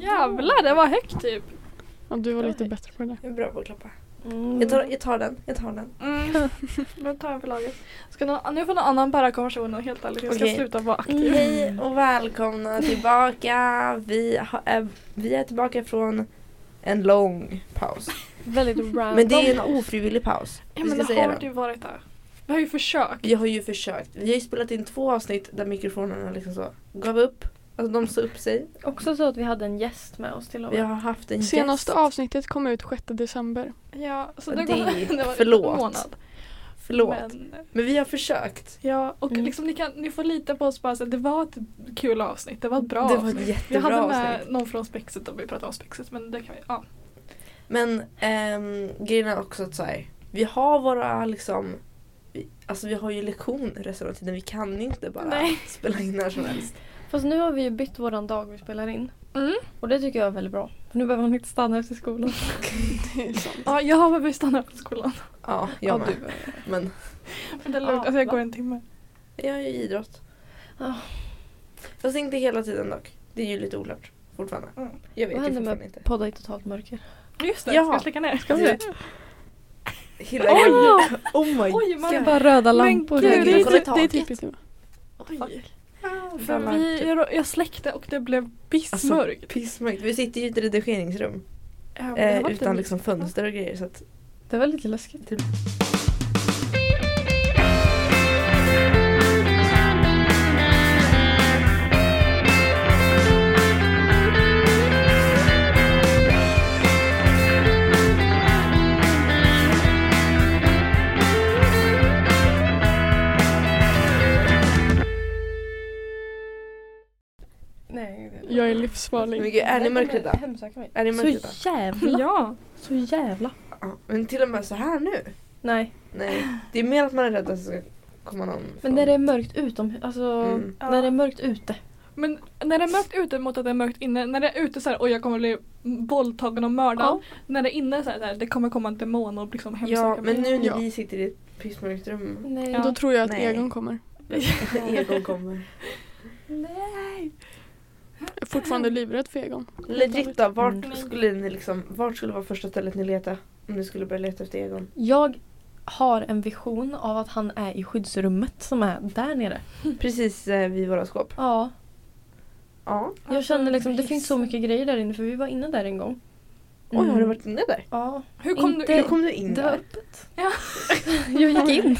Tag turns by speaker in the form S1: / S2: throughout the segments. S1: Jävlar, det var högt typ.
S2: Ja, du var lite bättre på det där.
S3: Jag är bra på att klappa.
S1: Mm.
S3: Jag tar, jag tar den, jag tar den.
S1: Mm. Nu tar jag för laget. Ska någon, nu får någon annan bära konversationen helt ärligt. Jag ska
S3: Okej.
S1: sluta vara aktiv.
S3: Hej och välkomna tillbaka. Vi, har, är, vi är tillbaka från en lång paus.
S2: Väldigt random.
S3: Men det är en ofrivillig paus.
S1: Ja,
S3: vi
S1: men
S3: ska
S1: det
S3: säga
S1: har
S3: det.
S1: du varit där. Vi har ju försökt.
S3: Vi har ju försökt. Vi har ju spelat in två avsnitt där mikrofonerna liksom så gav upp. Alltså de sa upp sig.
S4: Också så att vi hade en gäst med oss till och
S3: Vi
S4: med.
S3: har haft en
S2: Senaste
S3: gäst.
S2: avsnittet kom ut 6 december.
S1: Ja, så
S3: Och
S1: det,
S3: det
S1: går-
S3: är-
S1: var en
S3: förlåt.
S1: månad.
S3: Förlåt. Men,
S1: Men,
S3: vi har försökt.
S1: ja, och
S3: Mm.
S1: liksom, ni, kan, ni får lita på oss bara så att det var ett kul avsnitt. Det var ett bra
S3: det var
S1: avsnitt.
S3: ett
S1: Vi hade
S3: jättebra
S1: med
S3: avsnitt.
S1: någon från spexet och vi pratade om spexet men det kan vi, ja.
S3: Men ehm, grejen är också att så här, vi har våra liksom vi, Alltså vi har ju lektioner resten av tiden. Vi kan inte bara
S1: Nej.
S3: spela in när som helst.
S4: Fast nu har vi ju bytt våran dag vi spelar in.
S1: Mm.
S4: Och det tycker jag är väldigt bra. För nu behöver man inte stanna efter skolan.
S1: ja jag behöver stanna på skolan.
S2: Ja,
S3: Ja, jag med. Men
S1: Men det är lugnt,
S4: Ja,
S1: alltså, jag
S4: va?
S1: går en timme.
S3: jag har ju idrott.
S1: Ah.
S4: Ja.
S3: Fast inte hela tiden dock. Det är ju lite oklart fortfarande.
S1: Mm.
S3: Jag vet
S4: Vad
S3: ju
S4: händer
S3: fortfarande
S4: med
S3: inte.
S4: podda i totalt mörker?
S1: Just det,
S3: Ja.
S1: ska jag släcka ner?
S3: Ska vi? Hela
S1: Oj!
S3: grejen. Oh my
S1: Oj, man,
S4: Ska bara röda
S1: Men
S4: lampor.
S1: gud,
S3: Jag
S1: det
S3: kan
S1: är
S3: kolla i
S2: Det är typ-
S3: taket.
S2: typiskt. nu.
S1: oj. För
S3: Bra
S1: vi,
S3: larm.
S1: jag, jag släckte och det blev
S3: Alltså
S1: pissmörkt.
S3: typ pissmörkt. Vi sitter ju i ett redigeringsrum.
S1: Ja, men det
S3: Eh,
S1: var
S3: utan
S1: inte-
S3: liksom fönster och grejer. Så att
S4: Det var lite läskigt. Nej, det
S2: Jag är
S3: Men
S2: livsfarlig.
S3: gud, är ni
S4: mörkrädda?
S3: mörkrädda? Är ni mörkrädda?
S4: Så jävla,
S1: Ja.
S4: så jävla.
S3: Ja, men till och med så här nu?
S4: Nej,
S3: Nej. Det är mer att man är rädd att det ska komma någon. från-
S4: men när det är mörkt utom, alltså
S3: Mm.
S4: när det är mörkt ute.
S1: Men när det är mörkt ute mot att det är mörkt inne. När det är ute så här, oj jag kommer bli våldtagen och mördad.
S4: Ja.
S1: När det är inne så här, så här, det kommer komma en demon och liksom hemsöka
S3: Ja, men
S1: mig.
S3: nu när
S2: Ja.
S3: vi sitter i ett pissmörkt rum.
S4: Nej.
S1: Ja.
S2: Då tror jag att
S3: Nej.
S2: Egon kommer.
S3: Egon kommer.
S2: Jag är
S3: Mm.
S2: fortfarande livrädd för Egon.
S3: Legit då, vart
S1: Mm.
S3: skulle ni liksom, vart skulle vara första stället ni leta? Om ni skulle börja leta efter Egon.
S4: Jag har en vision av att han är i skyddsrummet som är där nere.
S3: Precis eh, vid våra skåp.
S4: Ja,
S3: Ja.
S4: jag känner liksom det finns så mycket grejer där inne för vi var inne där en gång.
S3: Oj, har du varit inne där?
S4: Ja,
S1: Hur kom
S4: Inte-
S1: du
S3: Hur
S1: ut?
S3: kom du in
S4: Mm. det var
S3: där?
S4: öppet.
S1: Ja.
S4: jag gick in.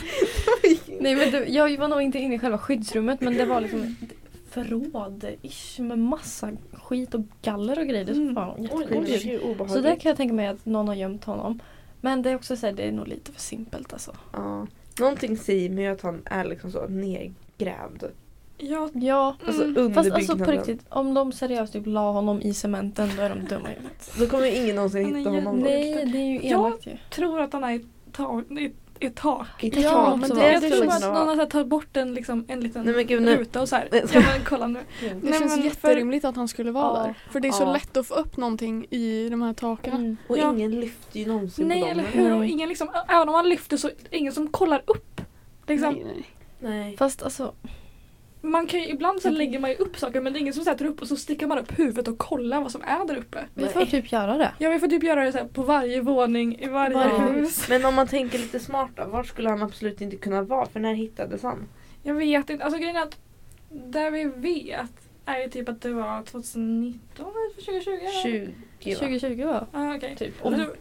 S4: Nej men det, jag var nog inte inne i själva skyddsrummet men det var liksom ett förråd-ish med massa skit och galler och grejer. Det
S1: Mm.
S4: var
S3: Oj,
S4: jätteoskyldigt.
S3: det är ju obehagligt.
S4: Så där kan jag tänka mig att någon har gömt honom. Men det är också så här, det är nog lite för simpelt alltså.
S3: ja. Någonting säger mig att han är liksom så nergrävd.
S1: Ja.
S4: Ja.
S3: Alltså
S1: Mm.
S3: under
S4: Fast alltså på
S3: byggnaden.
S4: riktigt, om de seriöst typ la honom i cementen då är de dumma i huvudet.
S3: Då kommer ingen någonsin
S1: Han är
S3: hitta honom.
S1: jätte-
S4: Nej, det är ju
S1: Ja.
S4: elakt ju.
S1: Tror att han är i tak. I, i tak.
S3: I
S4: Ja,
S3: taket.
S4: men
S3: Så-
S4: det-
S1: jag
S4: det
S1: tror
S4: känns
S1: att
S3: så-
S1: någon har så här, tagit bort en, liksom, en liten
S3: liksom Nej men gud nu.
S1: ruta och så här.
S3: Nej,
S1: Ja, men kolla nu.
S2: Det
S1: Nej,
S2: känns
S1: men för-
S2: jätterimligt att han skulle vara
S4: Ja.
S2: där. För det är så
S3: Ja.
S2: lätt att få upp någonting i de här taken.
S4: Mm.
S3: Och
S1: Ja.
S3: ingen lyfter ju någonsin
S1: Nej
S3: på dem.
S1: eller hur? Och
S4: Nej.
S1: ingen liksom, även om man lyfter så är det ingen som kollar upp. Liksom,
S2: Nej, nej.
S3: Nej.
S4: Fast alltså,
S1: man kan ju, ibland så lägger man ju upp saker men det är ingen som sätter upp och så sticker man upp huvudet och kollar vad som är där uppe.
S4: vi får typ göra det.
S1: Ja vi får typ göra det så här på varje våning, i varje
S3: Ja.
S1: hus.
S3: Men om man tänker lite smart då, var skulle han absolut inte kunna vara? För när hittades han?
S1: Jag vet inte, alltså grejen är att där vi vet är ju typ att det var 2019 eller 2020? eller?
S3: 20 va?
S4: 2020 va?
S1: Ja okej.
S4: Typ.
S3: Och-
S1: Alltså,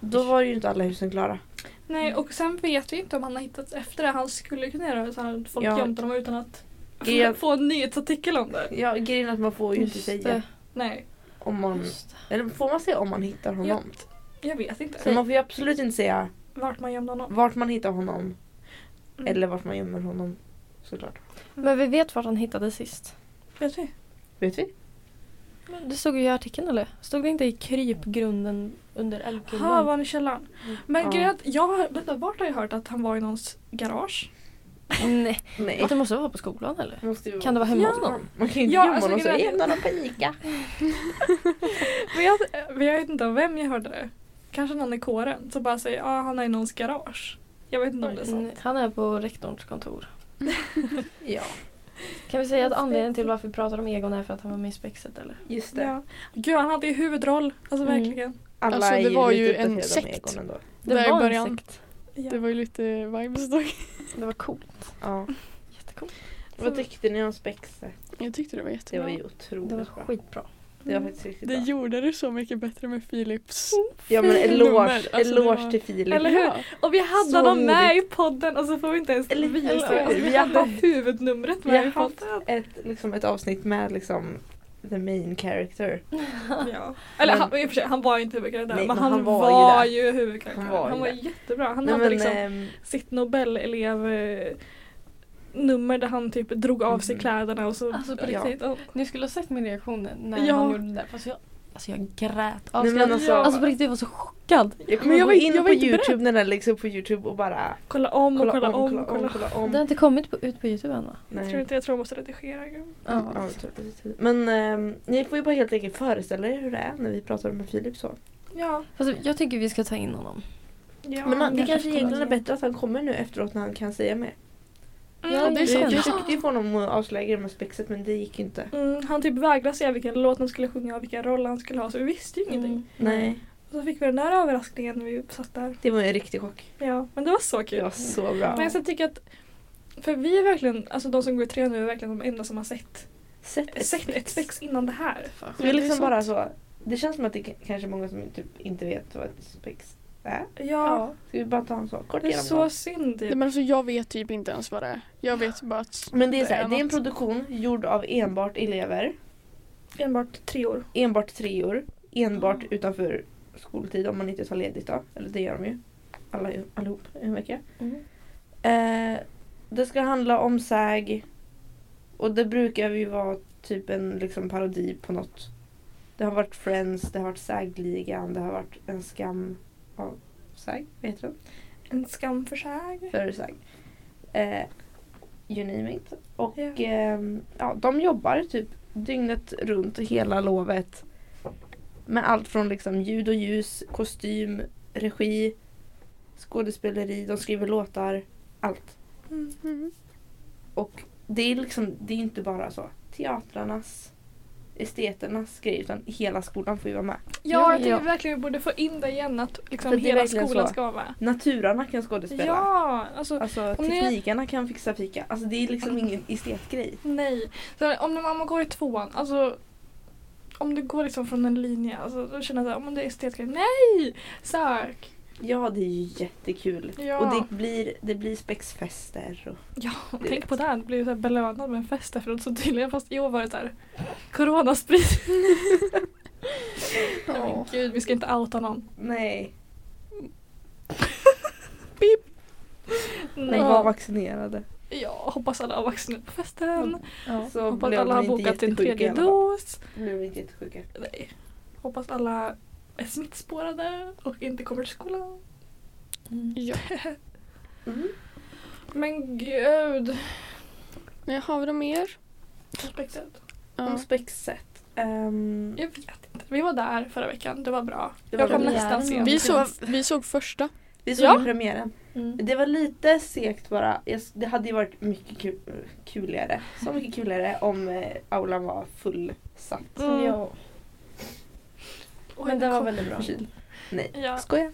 S3: Då var ju inte alla husen klara.
S1: Nej och sen vet vi inte om han har hittats efter det. Han skulle kunna göra så här, folk
S3: Ja.
S1: gömt honom utan att
S3: Ja.
S1: få en nyhetsartikel om det.
S3: Ja, grejen är att man får ju inte
S4: Just
S3: säga
S4: det,
S1: Nej,
S3: om man...
S4: just det.
S3: Eller får man säga om man hittar honom?
S1: jag vet inte.
S3: Men man får ju absolut inte säga
S1: Vart man gömde honom.
S3: vart man hittar honom
S1: Mm.
S3: eller vart man gömmer honom. Såklart.
S4: Men vi vet vart han hittades sist.
S1: Vet vi?
S3: Vet vi?
S4: Det stod ju i artikeln eller? Stod det inte i krypgrunden under
S1: Jaha, var
S4: älvgrunden?
S1: han i källaren? Men
S3: Ja.
S1: grejen är att jag har, vänta, vart har jag hört att han var i någons garage?
S4: Nej,
S3: Nej.
S4: det måste vara på skolan eller?
S3: Måste ju
S4: Kan det vara hemma hos någon?
S3: Man kan ju inte
S1: Ja,
S3: gömma
S1: alltså,
S3: honom så
S1: grejen är-
S3: jämna honom på Ica.
S1: Men jag, men jag vet inte av vem jag hörde det. Kanske någon i kåren som bara säger ah, han är i någons garage. Jag vet inte om det är sant.
S4: Mm, Han är på rektorns kontor.
S3: Ja.
S4: Kan vi säga att anledningen till varför vi pratar om Egon är för att han var med i Spexet eller?
S3: Just det.
S1: Mm, Ja. Gud, han hade ju huvudroll. Alltså
S4: Mm.
S1: verkligen.
S3: Alla
S2: Alltså,
S3: är
S2: det var
S3: lite
S2: ju en
S3: uppdaterade om
S2: sekt.
S3: Egon ändå.
S4: Det
S2: Där i
S4: var en
S2: början.
S4: sekt.
S1: Ja.
S2: Det var ju lite vibes då.
S4: Det var coolt.
S3: Ja.
S4: Jättecoolt.
S3: Vad tyckte ni om Spexet?
S2: Jag tyckte det var
S3: Det
S2: jättebra.
S3: var ju otroligt
S4: Det var
S3: bra.
S4: skitbra.
S3: Det var faktiskt riktigt
S2: Det
S3: bra.
S2: gjorde det så mycket bättre med Philips.
S3: Ja men
S2: Fint
S3: eloge,
S2: nummer. Alltså, det
S3: eloge
S2: var-
S3: till Filip.
S1: Eller hur? Och vi hade
S3: Så
S1: dem med i podden och så får vi inte ens
S3: Eller-
S1: visa.
S3: eller-
S1: Alltså, vi
S3: vi har
S1: hade
S3: haft-
S1: huvudnumret
S3: vi har
S1: med i
S3: haft-
S1: podden.
S3: Ett, liksom, ett avsnitt med liksom the main character.
S1: Ja. Eller
S3: Men-
S1: han, i och för sig, han var ju inte huvudkaraktären
S3: Nej,
S1: men han, var, ju, huvudkaraktären.
S3: Han var ju
S1: Han var,
S3: det.
S1: jättebra. Han
S3: Nej,
S1: hade
S3: men,
S1: liksom
S3: ehm,
S1: sitt Nobelelev eh, nummer där han typ drog av sig
S3: Mhm.
S1: kläderna och så
S4: Alltså, på
S1: riktigt. Och,
S4: Ni skulle ha sett min reaktion när
S1: Ja.
S4: han gjorde det där. Fast jag, alltså jag grät av
S3: Nej, men
S4: skratt.
S3: alltså-
S4: Alltså på riktigt, jag var så chockad.
S3: jag
S2: Men
S3: kommer
S2: jag
S3: gå
S2: var-
S3: in
S2: jag var
S3: på
S2: inte
S3: youtube när den läggs upp på youtube och bara
S1: kolla om och
S3: kolla,
S1: kolla om,
S3: kolla om,
S1: kolla
S3: kolla
S4: Det har
S3: om.
S4: inte kommit på, ut på Youtube än va?
S1: Jag
S3: Nej.
S1: tror inte jag tror jag måste redigera. gud.
S3: Ja,
S4: Ja.
S3: jag tror precis. Men ehm, ni får ju bara helt enkelt föreställa er hur det är när vi pratar med Filip så.
S1: Ja.
S4: Fast jag tycker vi ska ta in honom.
S1: ja
S3: men han, det kanske
S1: skulle
S3: egentligen är
S1: vara så.
S3: bättre att han kommer nu efteråt när han kan säga mer.
S1: Mm,
S4: det
S2: är
S3: Vi
S2: sant.
S3: försökte ju få honom att avslöja det med spexet men det gick ju inte.
S1: Mm, han typ vägrade säga vilken låt han skulle sjunga och vilken roll han skulle ha så vi visste ju ingenting.
S4: Mm.
S3: Nej,
S1: Och så fick vi den där överraskningen när vi satt där.
S3: det var ju en riktig chock.
S1: Ja, men det var så kul.
S3: Det var så bra.
S1: Men jag tycker att för vi är verkligen, alltså de som går i trean nu är verkligen de enda som har sett,
S3: Sätt ett
S1: sett ett spex innan det här.
S3: Det är
S2: Det är
S3: liksom
S2: sant.
S3: bara så. Det känns som att det k- kanske är många som typ inte vet vad ett spex är.
S1: Ja,
S3: Ska vi bara ta en så kort
S1: det är så
S3: genomgång?
S1: synd.
S2: Nej, Men alltså, jag vet typ inte ens vad det är. Jag vet bara att
S3: Men det är, så
S2: Det
S3: här,
S2: är
S3: det är en
S2: något.
S3: produktion gjord av enbart elever,
S1: Enbart treor.
S3: enbart treor, enbart utanför skoltid om man inte tar ledigt då. Eller det gör de ju. Alla, allihop en vecka.
S4: Mm.
S3: Eh, det ska handla om säg och det brukar ju vara typ en liksom parodi på något. Det har varit Friends, det har varit sägligan, det har varit en skam av säg, vad heter det?
S1: En skam för sig.
S3: för SAG. Eh, you name it. Och
S1: Ja.
S3: ehm, ja, de jobbar typ dygnet runt hela lovet. Med allt från liksom ljud och ljus, kostym, regi, skådespeleri, de skriver låtar, allt.
S1: Mm.
S2: mm,
S3: Och det är liksom, det är inte bara så teatrarnas, esteternas grej utan hela skolan får ju vara med.
S1: Ja,
S4: Ja,
S1: jag tycker
S4: ja.
S1: verkligen vi borde få in det igen att liksom
S3: För det är
S1: hela
S3: verkligen
S1: skolan
S3: så.
S1: ska vara med.
S3: Naturarna kan skådespela.
S1: Ja, alltså
S3: Alltså
S1: Om ni-
S3: teknikerna kan fixa fika. Alltså det är liksom ingen estetgrej.
S1: nej. Så om mamma går i tvåan, alltså om du går liksom från en linje, alltså, då känner jag att det är estetgrej. Nej! Sök!
S3: Ja, det är ju jättekul.
S1: Ja.
S3: Och det blir, det blir spexfester. Och...
S1: Ja, och
S3: Det-
S1: tänk på det. här, att Bli så här belönad med en fest efteråt. Så tydligen, fast i år var det såhär coronasprit. Nej men gud, vi ska inte outa någon.
S3: Nej,
S1: Nej.
S3: de var vaccinerade.
S1: Ja, hoppas alla har vaccinerat på festen.
S4: Ja.
S3: Så
S1: Hoppas
S3: blev
S1: alla har
S3: de inte
S1: bokat sin
S3: jättesjuka i
S1: tredje
S3: alla fall.
S1: dos.
S3: Blev inte jättesjuka.
S1: Nej. Hoppas alla är smittspårade och inte kommer till skolan.
S4: Mm.
S2: ja.
S3: Mm.
S1: Men gud.
S2: Nej, har vi något mer?
S1: Respektet.
S3: Om
S2: Ja.
S3: spexet. Ehm,
S1: Jag vet inte. Vi var där förra veckan, det var bra.
S3: Det var
S1: jag kom
S3: bra.
S1: nästan
S4: Premiären
S1: sent.
S2: Vi, såg, vi såg första.
S3: vi såg
S1: Ja.
S3: ju premiären.
S4: Mm.
S3: Det var lite segt bara. Jag s- Det hade ju varit mycket ku- kuligare. Så mycket kuligare om eh, aulan var fullsatt.
S1: Mm.
S4: Ja.
S1: Oj,
S4: Men det var
S1: kom-
S4: väldigt bra.
S3: Förkyld. Nej,
S1: Ja.
S3: skoja.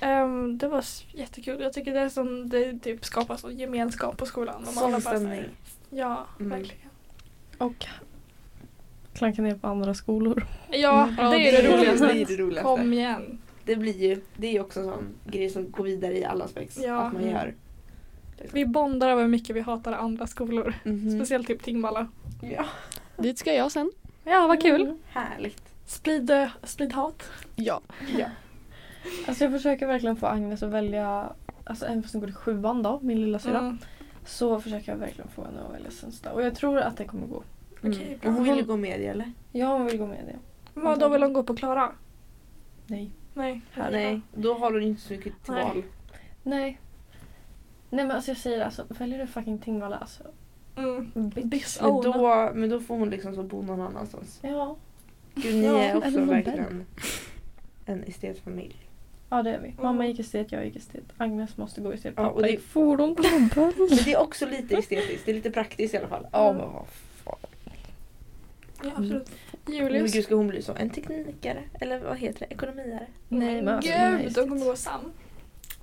S1: Ehm, det var s- jättekul. Jag tycker det är som det typ skapas sån gemenskap på skolan. Och man alla
S3: Sån
S1: bara så här-
S3: stämning.
S1: Ja,
S3: Mm.
S1: verkligen.
S4: Och klanka ner på andra skolor.
S1: Ja,
S3: Mm.
S1: det är det
S3: Det
S1: roligaste.
S3: är det roligaste.
S1: Kom igen.
S3: Det blir ju, det är ju också en sån grej som går vidare i alla spex.
S1: Ja. Mm.
S3: Att man gör.
S1: Vi bondar över hur mycket vi hatar andra skolor.
S3: Mhm.
S1: Speciellt typ Tingvalla.
S3: Ja.
S2: Dit ska jag sen.
S1: Ja, vad
S4: Mm.
S1: kul.
S3: Härligt.
S1: Sprid, eh, sprid hat.
S2: Ja.
S3: Ja.
S4: Alltså jag försöker verkligen få Agnes att välja, alltså även fast hon går i sjuan då, min lilla syrra.
S1: Mm.
S4: Så försöker jag verkligen få henne att välja Svensta. Och jag tror att det kommer gå.
S1: Okej, bra.
S3: Och Mm. hon vill ju gå med i eller?
S4: Ja, hon vill gå med i det.
S1: Vad då vill de gå på Klara?
S4: Nej.
S1: Nej.
S3: Nej, då har hon ju inte så mycket till
S1: Nej.
S3: val.
S4: Nej. Nej men alltså jag säger det, alltså, väljer du fucking Tingvalla alltså.
S1: Mm. Bitch.
S3: Men
S1: Oh,
S3: då, men då får hon liksom så bo någon annanstans.
S4: Ja.
S3: Gud, ni
S4: Ja,
S3: är också
S4: eller Nobel.
S3: verkligen en estetfamilj.
S4: Ja det är vi. Mamma gick estet, jag gick estet. Agnes måste gå estet.
S3: Ja,
S4: Pappa
S3: och det-
S4: gick fordon.
S3: Men det är också lite estetiskt. Det är lite praktiskt i alla fall. Mm. Ja men vad fan.
S1: Ja, absolut.
S3: Men
S1: Julius.
S3: gud ska hon bli så? En teknikare? Eller vad heter det? Ekonomiare?
S4: Nej, men alltså, nej,
S1: gud, de kommer gå sam.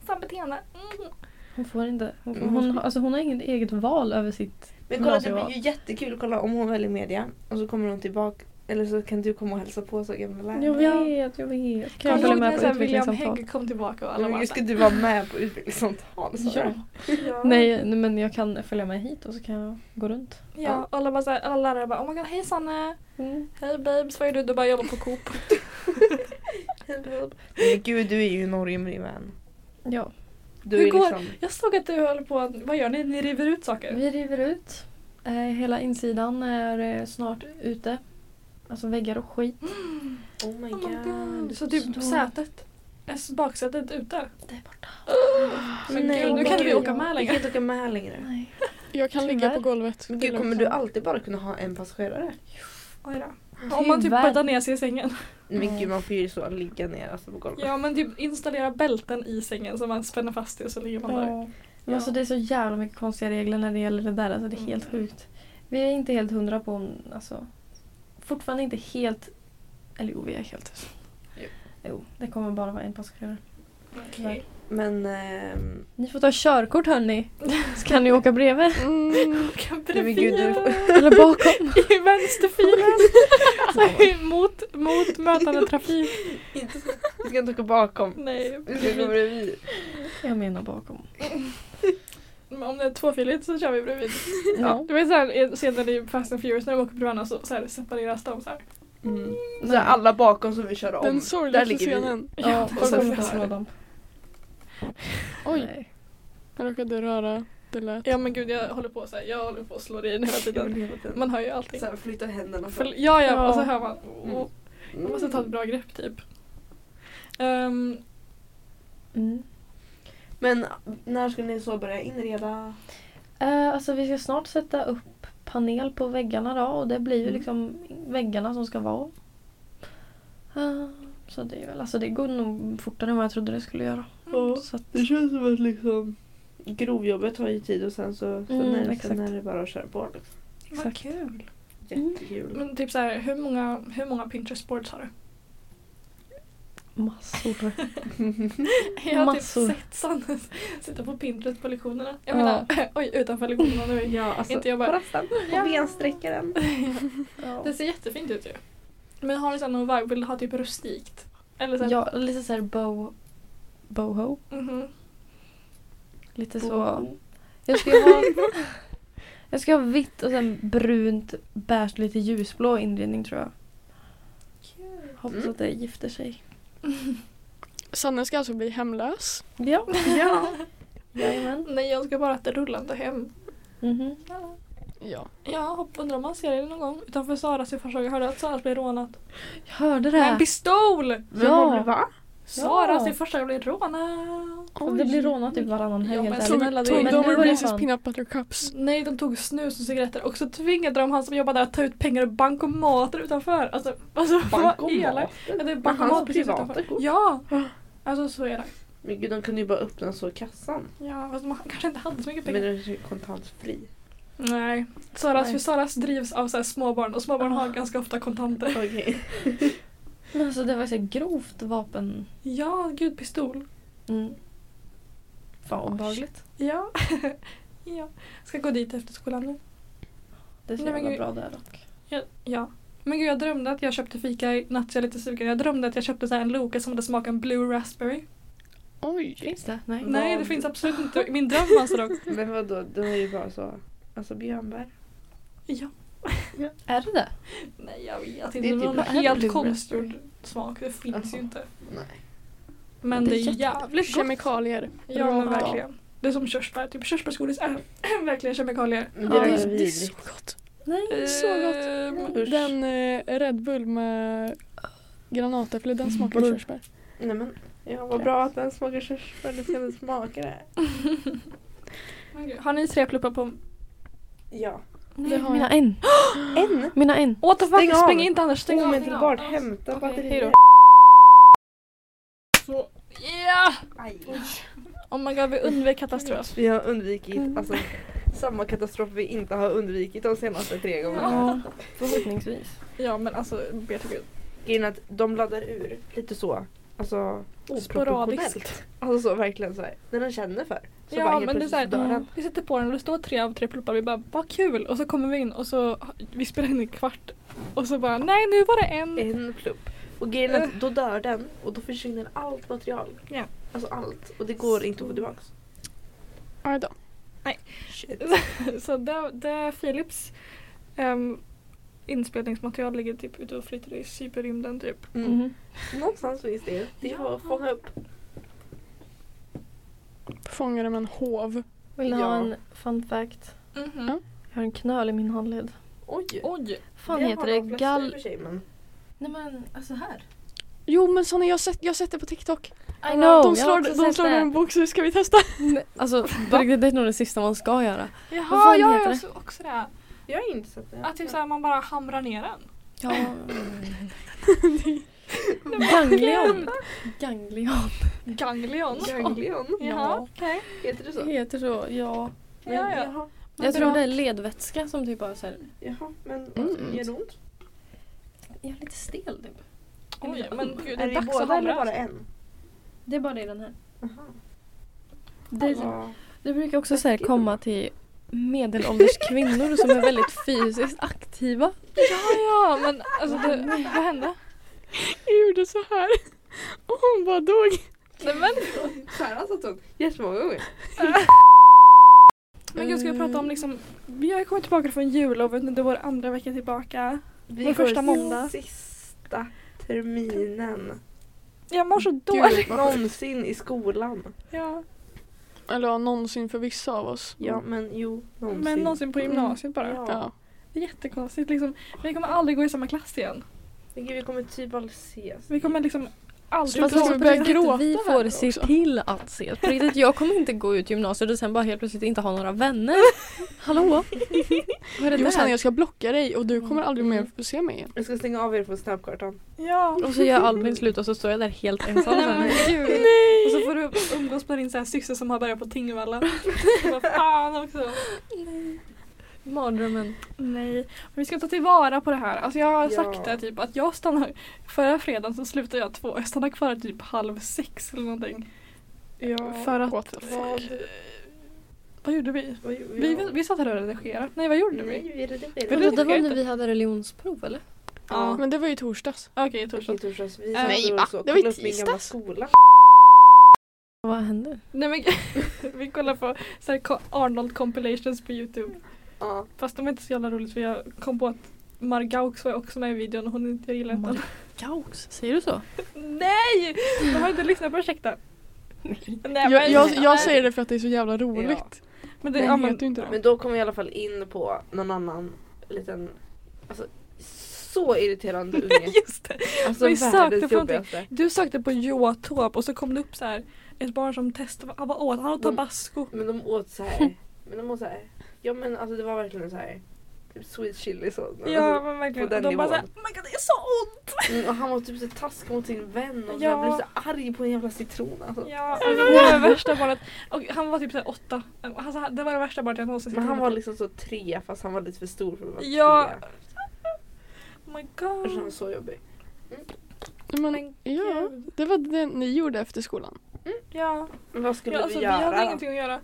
S1: Sambeteende. Mm.
S4: Hon får inte. Hon,
S3: Mm,
S4: hon,
S3: hon
S4: hon,
S3: ska-
S4: alltså, hon har inget eget val över sitt...
S3: Men kolla det
S4: Gymnasieval.
S3: blir ju jättekul. Kolla om hon väljer media och så kommer hon tillbaka. Eller så kan du komma och hälsa på så gamla lärare.
S4: Jag vet, jag vet. Kan jag
S1: Kommer
S4: följa
S1: ihåg
S4: med
S1: när
S4: på
S1: så här William
S4: utvecklingssamtal?
S1: Hägg kom tillbaka och
S3: Ja,
S1: alla
S3: men
S1: bara
S3: gud, ska
S1: såhär,
S3: du vara med på utvecklingssamtal? sa
S4: Ja.
S3: du?
S1: ja.
S4: Nej, nej, men jag kan följa med hit och så kan jag gå runt.
S1: Ja, och alla, bara så här, alla lärare bara oh my god hej Sanne,
S4: Mm.
S1: hej babes, vad gör du? Du bara jobbar på Coop.
S3: Men gud, du är ju Norge med din vän.
S4: Ja,
S3: Du
S1: Hur
S3: är
S1: går-
S3: liksom...
S1: Jag såg att du höll på att, vad gör ni? Ni river ut saker?
S4: vi river ut. Eh, hela insidan är eh, snart ute. Alltså väggar och skit.
S3: Oh my
S1: Oh my god.
S3: god.
S1: Så typ
S4: Så-
S1: sätet, eh, baksätet ute.
S4: Det är borta.
S1: Men gud, nu kan
S3: gud,
S1: vi åka med
S3: Vi
S1: längre.
S3: kan inte åka med längre.
S4: Nej.
S2: Jag kan ligga
S4: Tyvärr.
S2: på golvet.
S3: Men
S2: Det är
S3: gud, kommer
S2: lugnt.
S3: du alltid bara kunna ha en passagerare?
S1: Oj då. Om man typ
S4: Tyvärr.
S1: bäddar ner sig i sängen.
S3: Men
S4: Mm.
S3: gud, man får ju så ligga ner alltså, på golvet.
S1: Ja men typ installera bälten i sängen så man spänner fast det och så ligger man där.
S4: Ja. Men alltså det är så jävla mycket konstiga regler när det gäller det där. Alltså det är helt sjukt. Vi är inte helt hundra på om, alltså. Fortfarande inte helt, eller jo vi är helt.
S3: Jo.
S4: Jo, det kommer bara vara en passagerare.
S1: Okej.
S3: Men... ehm,
S4: Ni får ta körkort hörni. Så kan ni åka bredvid.
S2: Mm,
S3: nej, men gud, du...
S4: Eller bakom.
S1: I vänsterfilen! mot, mot mötande trafik.
S3: inte så- Du ska inte åka bakom.
S1: Nej.
S3: Du ska gå bredvid.
S4: Jag menar bakom.
S1: Men om det är tvåfiligt så kör vi bredvid.
S4: Ja.
S1: Du vet såhär scenen i Fast and Furious när de åker bredvid varandra så, så här, separeras de såhär.
S3: Mm. Så här, alla bakom som vill köra om.
S2: den sorgliga
S3: ligger vi.
S2: scenen.
S4: Ja,
S3: och sen
S4: folk kommer inte
S3: så här.
S4: slå dem.
S2: Oj,
S4: Nej.
S2: jag råkade röra. Det lät.
S1: Ja men gud jag håller på såhär, jag håller på att slå in hela tiden. Man hör ju allting.
S3: Så här, flytta händerna.
S1: För,
S3: fram.
S1: ja, ja, och så
S4: Ja.
S1: hör man.
S3: Mm.
S1: Och, man måste ta ett bra grepp typ. Ehm,
S4: Mm.
S3: Men när ska ni så börja inreda?
S4: Eh, alltså vi ska snart sätta upp panel på väggarna då och det blir ju
S3: Mm.
S4: liksom väggarna som ska vara. Eh, så det är väl, alltså det går nog fortare än vad jag trodde det skulle göra.
S1: Mm.
S4: Så att,
S3: Det känns som att liksom grovjobbet tar ju tid och sen så sen
S4: Mm,
S3: är, det,
S4: exakt.
S3: sen är det bara att köra på. Liksom.
S1: vad kul.
S3: Jättekul.
S1: Men typ såhär, hur många, hur många Pinterest boards har du?
S4: massor.
S1: Jag har typ
S4: Massor.
S1: sett Sanne sitta på Pinterest på lektionerna. Jag
S4: Ja.
S1: menar, oj utanför lektionerna nu.
S3: Ja, alltså,
S1: Inte jag bara-
S3: på rasten, på
S1: Ja.
S3: bensträckaren.
S1: Det ser jättefint ut ju. Men har ni såhär någon vibe, vill du ha typ rustikt? Eller såhär,
S4: ja, lite såhär bow, boho.
S1: mhm.
S4: Lite så. Jag ska ha, jag ska ha vitt och sen brunt, beige, lite ljusblå inredning tror jag. Hoppas
S3: Mm.
S4: att det gifter sig.
S2: Sanne ska alltså bli hemlös.
S4: Ja.
S3: Ja.
S4: Jajamän.
S1: Nej jag ska bara ha ett rullande hem.
S4: Mhm.
S2: Ja.
S1: Ja, hopp, undrar om man ser det någon gång utanför Saras i Forshaga. Hörde att Saras blev rånad?
S4: Jag hörde det.
S1: Med en pistol!
S3: Men
S4: Ja.
S3: vad blir- Va?
S1: Saras i Forshaga blev rånad!
S4: Om Det blir rånat typ varannan helg
S1: Ja, men
S4: helt
S1: så-
S4: ärligt.
S1: snälla,
S2: Tog,
S1: det-
S2: tog
S1: men
S2: de
S1: nu
S4: var det
S2: Reese's
S4: fan-
S2: peanut butter cups?
S1: Nej, de tog snus och cigaretter och så tvingade de han som jobbade där att ta ut pengar ur bankomater utanför. Alltså, alltså vad elakt. Ja, det är
S3: Men
S1: bankomat
S3: hans
S1: precis
S3: privata
S1: utanför.
S3: kort.
S1: typ Ja! Alltså så elakt.
S3: Men gud, de kunde ju bara öppna så i kassan.
S1: Ja, fast man kanske inte hade så mycket
S3: Men
S1: pengar.
S3: den är ju kontantfri.
S1: Nej. Ah. Saras,
S4: Nej.
S1: för Saras drivs av så här småbarn och småbarn har ganska ofta kontanter.
S3: Okej.
S4: Men alltså det var så här grovt vapen...
S1: Ja, gud pistol.
S4: Mm. Fan
S2: Oj.
S4: obehagligt.
S1: Ja. ja. Ska gå dit efter skolan nu.
S4: Det är så
S1: Nej, men
S4: jävla
S1: gud.
S4: bra där dock.
S1: Ja. ja. Men gud jag drömde att jag köpte fika i natt så jag är lite sugen. Jag drömde att jag köpte så här en Loka som hade smaken Blue Raspberry.
S2: Oj.
S4: Finns det? Nej.
S3: Mm.
S1: Nej
S3: Vad?
S1: det finns absolut inte i min dröm alltså dock.
S3: Men vadå, det var ju bara så. Alltså björnbär.
S1: Ja.
S4: Är det det?
S1: Nej jag vet inte.
S3: Det
S1: Det
S3: är typ
S1: var någon
S3: vad är Blue
S1: helt konstgjord
S3: Raspberry?
S1: smak. Det finns ju
S3: Jaha.
S1: inte.
S3: Nej.
S1: Men det är
S2: jätte-
S1: jävligt gott.
S2: Kemikalier.
S1: Ja
S2: Bra
S1: men
S2: val.
S1: verkligen. Det är som körsbär. Typ körsbärsgodis är verkligen kemikalier.
S3: Men
S2: Ja,
S3: det
S2: det,
S3: är
S2: är, det är
S3: vidrigt.
S2: så gott.
S4: Nej.
S2: Så gott.
S1: Ehm,
S3: Usch.
S2: Den eh, Red Bull med granatäpple, den smakar
S4: Brr.
S2: körsbär.
S3: Nej men, ja vad bra att den smakar körsbär. Det ska den smaka det.
S1: men gud, Har ni tre pluppar på
S3: Ja.
S2: Det har
S4: Mina
S2: jag.
S4: en.
S3: En
S4: Mina en.
S1: What the fuck,
S3: Stäng av.
S1: spring inte Anders, stäng av.
S3: omedelbart
S1: Stäng av.
S3: hämta
S1: Okej,
S3: batterier.
S1: hejdå. Så. Ja!
S3: Aj.
S1: Oh my god, vi undvek katastrof.
S3: Vi har
S1: Mm.
S3: undvikit alltså, samma katastrof vi inte har undvikit de senaste tre gångerna.
S4: Ja, förhoppningsvis.
S1: Ja men alltså, be till gud.
S3: Grejen är att de laddar ur lite så. Alltså
S1: Sporadiskt.
S3: Alltså så verkligen så här. När de känner för. Så bara
S1: Ja
S3: helt
S1: men det är
S3: plötsligt
S1: såhär,
S3: dör den.
S1: vi sätter på den och det står tre av tre pluppar vi bara vad kul och så kommer vi in och så vi spelar in en kvart och så bara nej nu var det en.
S3: En plupp. Och grejen är att då dör den och då försvinner allt material.
S1: Ja.
S3: Alltså allt. Och det går inte att få tillbaks.
S2: Aj då.
S3: Shit.
S1: Så det, det är Philips ehm, inspelningsmaterial ligger typ ute och flyter i cyberrymden typ.
S3: Mm.
S4: Mhm.
S3: Någonstans finns det. Det är bara att fånga upp.
S2: Fångade med en hov.
S4: Vill ni ha
S3: Ja.
S4: en fun fact?
S1: Mhm.
S2: Ja.
S4: Jag har en knöl i min handled.
S3: Oj.
S1: Oj!
S4: fan
S3: har
S4: heter
S3: de
S4: det?
S3: flesta i och
S4: Gal...
S3: för sig, men-
S4: Nej men alltså här.
S2: Jo men Sanna jag har sett, jag har sett det på TikTok.
S4: I know.
S2: de slår, de slår en bok så ska vi testa.
S4: Nej, Alltså på riktigt, det är nog det sista man ska göra. Vad
S1: Jaha,
S4: fan
S1: jag
S4: heter
S1: gör
S4: det?
S1: så- också det.
S3: Jag har inte sett det.
S1: Att typ såhär man bara hamrar ner den.
S4: Ja. Ganglion. Ganglion.
S1: Ganglion.
S3: Ganglion.
S1: Jaha, okej.
S3: Heter det så?
S4: Det heter så, ja.
S3: Men,
S1: Ja, ja.
S3: Jaha.
S1: Men
S4: Jag
S1: det
S4: tror
S1: var-
S4: det är ledvätska som typ bara såhär,
S3: Jaha. Men alltså,
S4: Mm.
S3: gör det ont?
S4: jag är lite stel typ.
S1: Oj, men gud det är
S3: Är det
S1: dags att
S3: båda eller bara
S1: hamra.
S3: en?
S4: Det är bara det i den här.
S3: Jaha.
S4: Det, är- typ-
S3: Ja.
S4: det brukar också så här komma till medelålders kvinnor som är väldigt fysiskt aktiva.
S1: Ja, ja, men alltså det, vad hände?
S2: Jag gjorde så här. Och hon bara dog.
S1: Nej, men,
S3: Så här har satt hon jättemånga gånger.
S1: men gud, ska vi prata om liksom, vi har ju kommit tillbaka från jullovet, nu det är vår andra vecka tillbaka.
S3: Vi
S1: Min
S3: går
S1: första måndag.
S3: Sista terminen.
S1: Jag mår så dåligt.
S3: Dåligt någonsin i skolan.
S1: Ja,
S2: Eh, Eller ja, någonsin för vissa av oss. Mm.
S3: Ja men jo, någonsin.
S1: men någonsin på gymnasiet bara.
S3: Ja.
S2: Ja.
S1: Det är jättekonstigt liksom. Vi kommer aldrig gå i samma klass igen.
S3: Men gud, vi kommer typ aldrig ses.
S1: Vi kommer liksom aldrig...
S2: Fast ska vi börja gråta
S4: vi
S2: här
S4: får
S2: nu
S4: se
S2: också?
S4: till att ses. På riktigt, jag kommer inte gå ut gymnasiet och sen bara helt plötsligt inte ha några vänner. Hallå? Vad är det
S2: Jo Sanna
S4: där?
S2: jag ska blocka dig och
S1: Mm.
S2: du kommer aldrig mer få se mig igen.
S3: Jag ska stänga av er på snabbkartan.
S1: Ja.
S4: Och så gör Albin slut och så står jag där helt ensam
S1: Nej, men
S4: sen.
S1: gud. Och så får du umgås med din så här syster som har börjat på Tingvalla. Vad fan också.
S4: Mardrömmen.
S1: Nej, men vi ska ta tillvara på det här. Alltså jag har
S3: Ja.
S1: sagt det typ att jag stannar, förra fredagen så slutade jag två, jag stannar kvar typ halv sex eller någonting.
S3: Ja.
S1: För att,
S2: What the fuck?
S3: Vad,
S1: vad gjorde vi?
S3: vad gjorde
S1: Vi, vi satt här och redigerade. Nej vad gjorde vi?
S3: Nej, vi
S1: Men
S4: Vadå,
S1: det
S3: redigerade.
S4: det var
S1: tycker jag
S4: när vi hade religionsprov eller?
S1: Ja.
S2: Men det var ju i torsdags.
S1: Okej,
S3: Okej,
S1: torsdag.
S3: torsdags. Vi
S1: Eh, nej,
S3: satt
S2: va?
S3: och så
S2: Det var ju
S3: kollade upp min gamla
S2: tisdags.
S3: skola.
S4: Vad hände?
S1: Nej men vi kollar på så här, ko- Arnold compilations på Youtube.
S3: Ja.
S1: Fast de är inte så jävla roligt för jag kom på att Margaux var också med i videon och hon inte gillade den.
S4: Gaux, säger du så?
S1: Nej! De har inte lyssnat på ursäkta. Nej,
S2: Jag,
S1: men-
S2: jag, jag säger det för att det är så jävla roligt.
S1: Men det,
S2: Det
S1: ja,
S2: vet
S1: men,
S2: du inte då.
S3: Men då kom vi i alla fall in på någon annan liten, alltså så irriterande unge.
S1: Just det.
S3: Alltså
S1: Vi sökte
S3: världens
S1: på någonting.
S3: jobbigaste.
S1: Du sökte på Joatorp och så kom det upp så här ett barn som testade vad- vad åt han åt
S3: De-
S1: tabasco.
S3: Men de åt så här. men de åt så här. Ja men alltså det var verkligen så här. Typ sweet chili så.
S1: Ja men verkligen.
S3: på den
S1: De bara såhär
S3: nivån.
S1: oh my god det är så ont!
S3: Alltså, mm, och han var typ så taskig mot sin vän och
S1: Ja.
S3: jag blev så arg på en jävla citron alltså.
S1: Ja alltså, det var det värsta barnet. Och han var typ såhär åtta. Alltså, han- det var det värsta barnet jag någonsin
S3: Men
S1: sett.
S3: han var liksom så tre fast han var lite för stor för att vara
S1: Ja.
S3: tre.
S1: Oh my
S3: Alltså, han var
S1: god.
S3: så jobbig.
S2: Men, ja,
S1: gud.
S2: det var det ni gjorde efter skolan.
S1: Ja.
S3: Men vad skulle
S1: ja alltså,
S3: vi
S1: vi
S3: göra
S1: hade
S3: då?
S1: ingenting att göra.